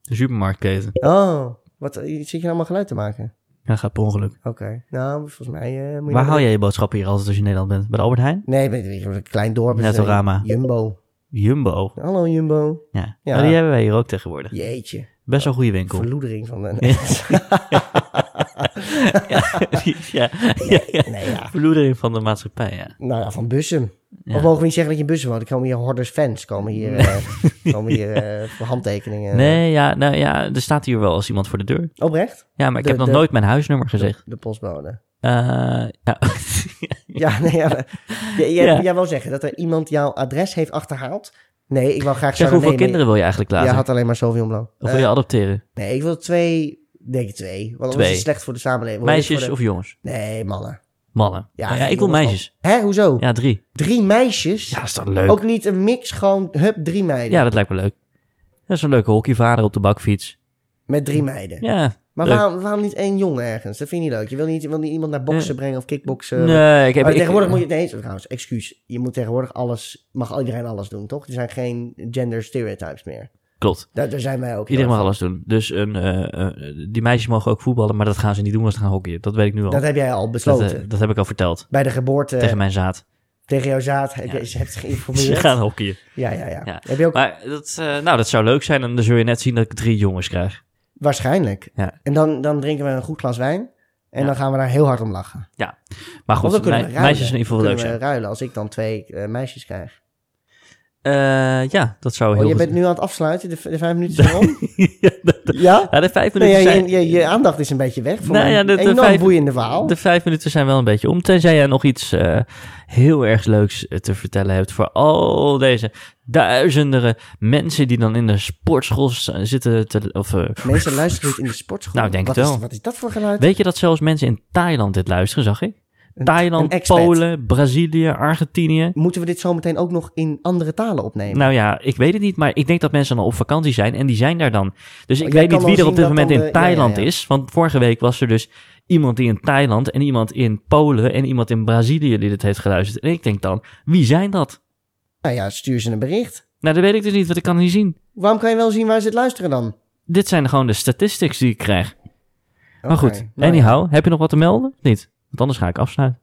B: De supermarktketen.
C: Oh, wat zit je nou allemaal geluid te maken?
B: Ja, gaat per ongeluk.
C: Oké. Nou, volgens mij eh, moet je...
B: Waar
C: nog-
B: haal jij je boodschappen hier altijd als je in Nederland bent? Bij de Albert Heijn?
C: Nee, weet je, een klein dorp. is, eh,
B: Netorama.
C: Jumbo.
B: Jumbo.
C: Hallo Jumbo.
B: Ja.
C: Ja.
B: Maar die hebben wij hier ook tegenwoordig.
C: Jeetje.
B: Best wel een goede winkel. [laughs]
C: Verloedering van de...
B: ja, ja, ja.
C: Nee, ja.
B: Verloedering van de maatschappij, ja.
C: Nou ja, van Bussum.
B: Ja.
C: Of mogen we niet zeggen dat je in Bussum woont? Er komen hier horders fans. Komen hier,
B: [laughs]
C: eh, komen hier eh, voor handtekeningen.
B: Nee, ja, nou ja, er staat hier wel als iemand voor de deur.
C: Oprecht?
B: Ja, maar ik
C: De-
B: heb nog
C: de-
B: nooit mijn huisnummer gezegd.
C: De postbode.
B: Eh, ja.
C: Ja, nee, ja. maar- J- jij-
B: Ja.
C: Jij wou zeggen dat er iemand jouw adres heeft achterhaald? Nee, ik wil graag...
B: zeg,
C: Chardonnay
B: hoeveel
C: mee-
B: kinderen wil je eigenlijk
C: Jij
B: laten?
C: had alleen maar Sauvignon Blanc.
B: Of wil je
C: Eh,
B: adopteren?
C: nee, ik wil twee... Denk ik twee. Want anders
B: Twee.
C: is het slecht voor de samenleving. Want dit is
B: Meisjes
C: voor
B: of jongens?
C: de- Nee, mannen.
B: Mannen. Ja, ja,
C: geen
B: ik wil
C: jongens,
B: meisjes.
C: Hè, hoezo?
B: Ja, drie.
C: Drie meisjes?
B: Ja, is dat leuk?
C: Ook niet een mix, gewoon hup, drie meiden.
B: Ja, dat lijkt me leuk. Dat is een leuke hockeyvader op de bakfiets.
C: Met drie meiden.
B: Ja.
C: Maar
B: leuk.
C: waarom, waarom niet één jongen ergens? Dat vind je niet leuk. Je wil niet, je wil niet iemand naar boksen brengen of kickboksen.
B: Nee, ik heb...
C: Eh, Maar
B: ik-
C: tegenwoordig moet je... Nee, trouwens, excuus. Je moet tegenwoordig alles... Mag iedereen alles doen, toch? Er zijn geen gender stereotypes meer.
B: Klopt.
C: Daar, daar zijn wij ook. heel
B: Iedereen mag
C: erg
B: alles doen. Dus een, eh, eh, die meisjes mogen ook voetballen, maar dat gaan ze niet doen als ze gaan hockeyen. Dat weet ik nu al.
C: van. Dat Eh, heb jij al
B: Dat, eh,
C: besloten.
B: dat heb ik al verteld.
C: Bij de geboorte,
B: tegen
C: tegen,
B: mijn zaad.
C: jouw zaad, heb
B: Ja.
C: je, ze
B: [laughs]
C: heeft
B: Ze
C: geïnformeerd.
B: gaan hockeyen.
C: Ja, ja, ja,
B: Ja.
C: Heb je ook
B: Maar dat, eh, nou, dat zou leuk zijn. En dan zul je net zien dat ik drie jongens krijg.
C: waarschijnlijk.
B: Ja.
C: En dan, dan drinken we een goed glas wijn. En
B: Ja.
C: dan gaan we daar heel hard om lachen.
B: Maar
C: Want
B: goed,
C: dan kunnen
B: me-
C: we ruilen.
B: meisjes in ieder geval leuk
C: Kunnen
B: zijn.
C: we ruilen als ik dan twee eh, meisjes krijg.
B: Eh, ja, dat zou
C: Oh,
B: heel
C: je
B: goed
C: bent nu aan het afsluiten, de, v- de vijf minuten
B: [laughs]
C: zijn om?
B: ja, dat-
C: ja?
B: ja, de vijf
C: Nee,
B: minuten
C: ja,
B: zijn...
C: je, je, je aandacht is een beetje weg. Voor
B: Nou
C: een
B: ja, de- de
C: enorm
B: vijf-
C: boeiende verhaal.
B: De vijf minuten zijn wel een beetje om. Tenzij jij nog iets eh, heel erg leuks eh, te vertellen hebt voor al deze duizenden mensen die dan in de sportschool z- zitten te... Of, eh,
C: Mensen luisteren niet in de sportschool.
B: Nou, ik denk
C: wat
B: het
C: is,
B: wel.
C: Wat is dat voor geluid?
B: weet je dat zelfs mensen in Thailand dit luisteren, zag ik?
C: een
B: Thailand,
C: expat.
B: Polen, Brazilië, Argentinië.
C: Moeten we dit zometeen ook nog in andere talen opnemen?
B: Nou ja, ik weet het niet, maar ik denk dat mensen dan op vakantie zijn en die zijn daar dan. Dus ik
C: Oh, jij
B: weet
C: kan
B: niet
C: wel
B: wie er op dit
C: zien dat
B: moment
C: dan
B: in
C: de- ja, ja,
B: Thailand
C: ja.
B: is. Want vorige week was er dus iemand die in Thailand en iemand in Polen en iemand in Brazilië die dit heeft geluisterd. En ik denk dan, wie zijn dat?
C: Nou ja, stuur ze een bericht.
B: Nou, dat weet ik dus niet, want ik kan het niet zien.
C: Waarom kan je wel zien waar ze het luisteren dan?
B: Dit zijn gewoon de statistics die ik krijg.
C: Oké,
B: Maar goed,
C: nou ja.
B: anyhow, heb je nog wat te melden? Of Niet? Want anders ga ik afsluiten.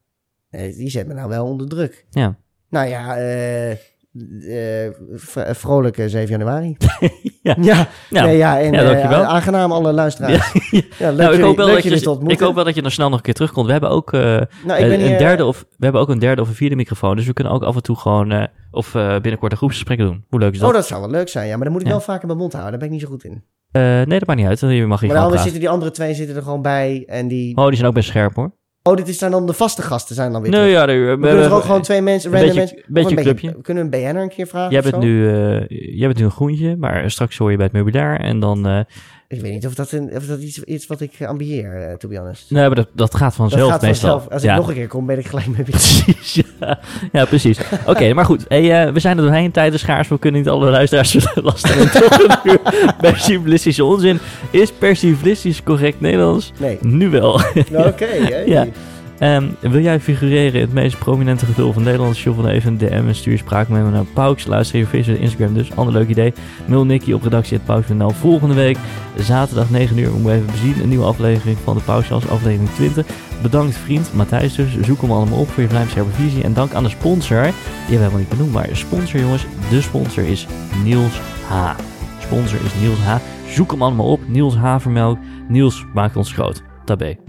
C: Eh, Die zet me nou wel onder druk.
B: Ja.
C: Nou ja, eh eh, vro- vrolijke 7
B: [laughs]
C: januari.
B: Ja.
C: ja.
B: Nou,
C: Nee, ja, en
B: ja,
C: eh,
B: dankjewel.
C: aangenaam alle luisteraars. Ja, leuk
B: Nou, ik,
C: jullie-
B: hoop wel
C: leuk
B: dat
C: jullie te
B: je, ik
C: ontmoeten.
B: hoop wel dat je dan snel nog een keer terugkomt. We hebben ook, eh,
C: Nou, ik ben
B: een,
C: hier-
B: derde of, we hebben ook een derde of een vierde microfoon. Dus we kunnen ook af en toe gewoon... eh, of eh, binnenkort een groepsgesprek doen. Hoe leuk is Dus dat?
C: Oh, dat zou wel leuk zijn, ja. Maar dan moet ik
B: Ja.
C: wel vaker mijn mond houden. Daar ben ik niet zo goed in.
B: Eh, nee, dat maakt niet uit. Je mag hier
C: maar
B: gewoon
C: anders
B: praten.
C: zitten die andere twee zitten er gewoon bij. En die...
B: Oh, die zijn ook best scherp hoor.
C: Oh, dit is- zijn dan de vaste gasten zijn dan weer
B: Nee,
C: terug.
B: ja, nee, we-
C: We kunnen
B: we-
C: er ook gewoon twee mensen,
B: een
C: random
B: beetje-
C: mensen...
B: beetje
C: of
B: clubje.
C: Kunnen we een BN'er een keer vragen
B: Jij
C: of
B: bent,
C: zo?
B: nu, eh, jij bent nu een groentje, maar straks hoor je bij het meubilair. En dan eh,
C: Ik weet niet of dat, een, of dat iets is wat ik eh, ambieer, eh, to be honest.
B: Nee, maar dat, dat gaat
C: Dat
B: vanzelf
C: gaat
B: meestal.
C: vanzelf. Als
B: ja. [laughs]
C: ik nog een keer kom, ben ik gelijk mee bezig.
B: Precies, ja. Ja, precies. Oké, maar goed. Hey, eh, we zijn er doorheen. Tijd is schaars. We kunnen niet alle luisteraars [laughs] lasten. En toch een uur [laughs] persiflistische onzin. Is persiflistisch correct Nederlands? [laughs]
C: Nee.
B: Nu wel.
C: Nou, oké. hey.
B: Ja. Ehm, wil jij figureren in het meest prominente gevul van Nederland? Shovel dan even een DM en stuur spraak met me naar Pauks. Luister je via Instagram dus. Ander leuk idee. Mail Nicky op redactie.pauks.nl. Volgende week, zaterdag 9 uur, moet we even bezien. Een nieuwe aflevering van de Pauksjas, aflevering 20. Bedankt vriend Matthijs dus. Zoek hem allemaal op voor je vlijmscherpe visie. En dank aan de sponsor. Die hebben we helemaal niet benoemd, maar sponsor jongens. De sponsor is Niels H. Sponsor is Niels H. Zoek hem allemaal op. Niels Havermelk. Niels maakt ons groot. Tabé.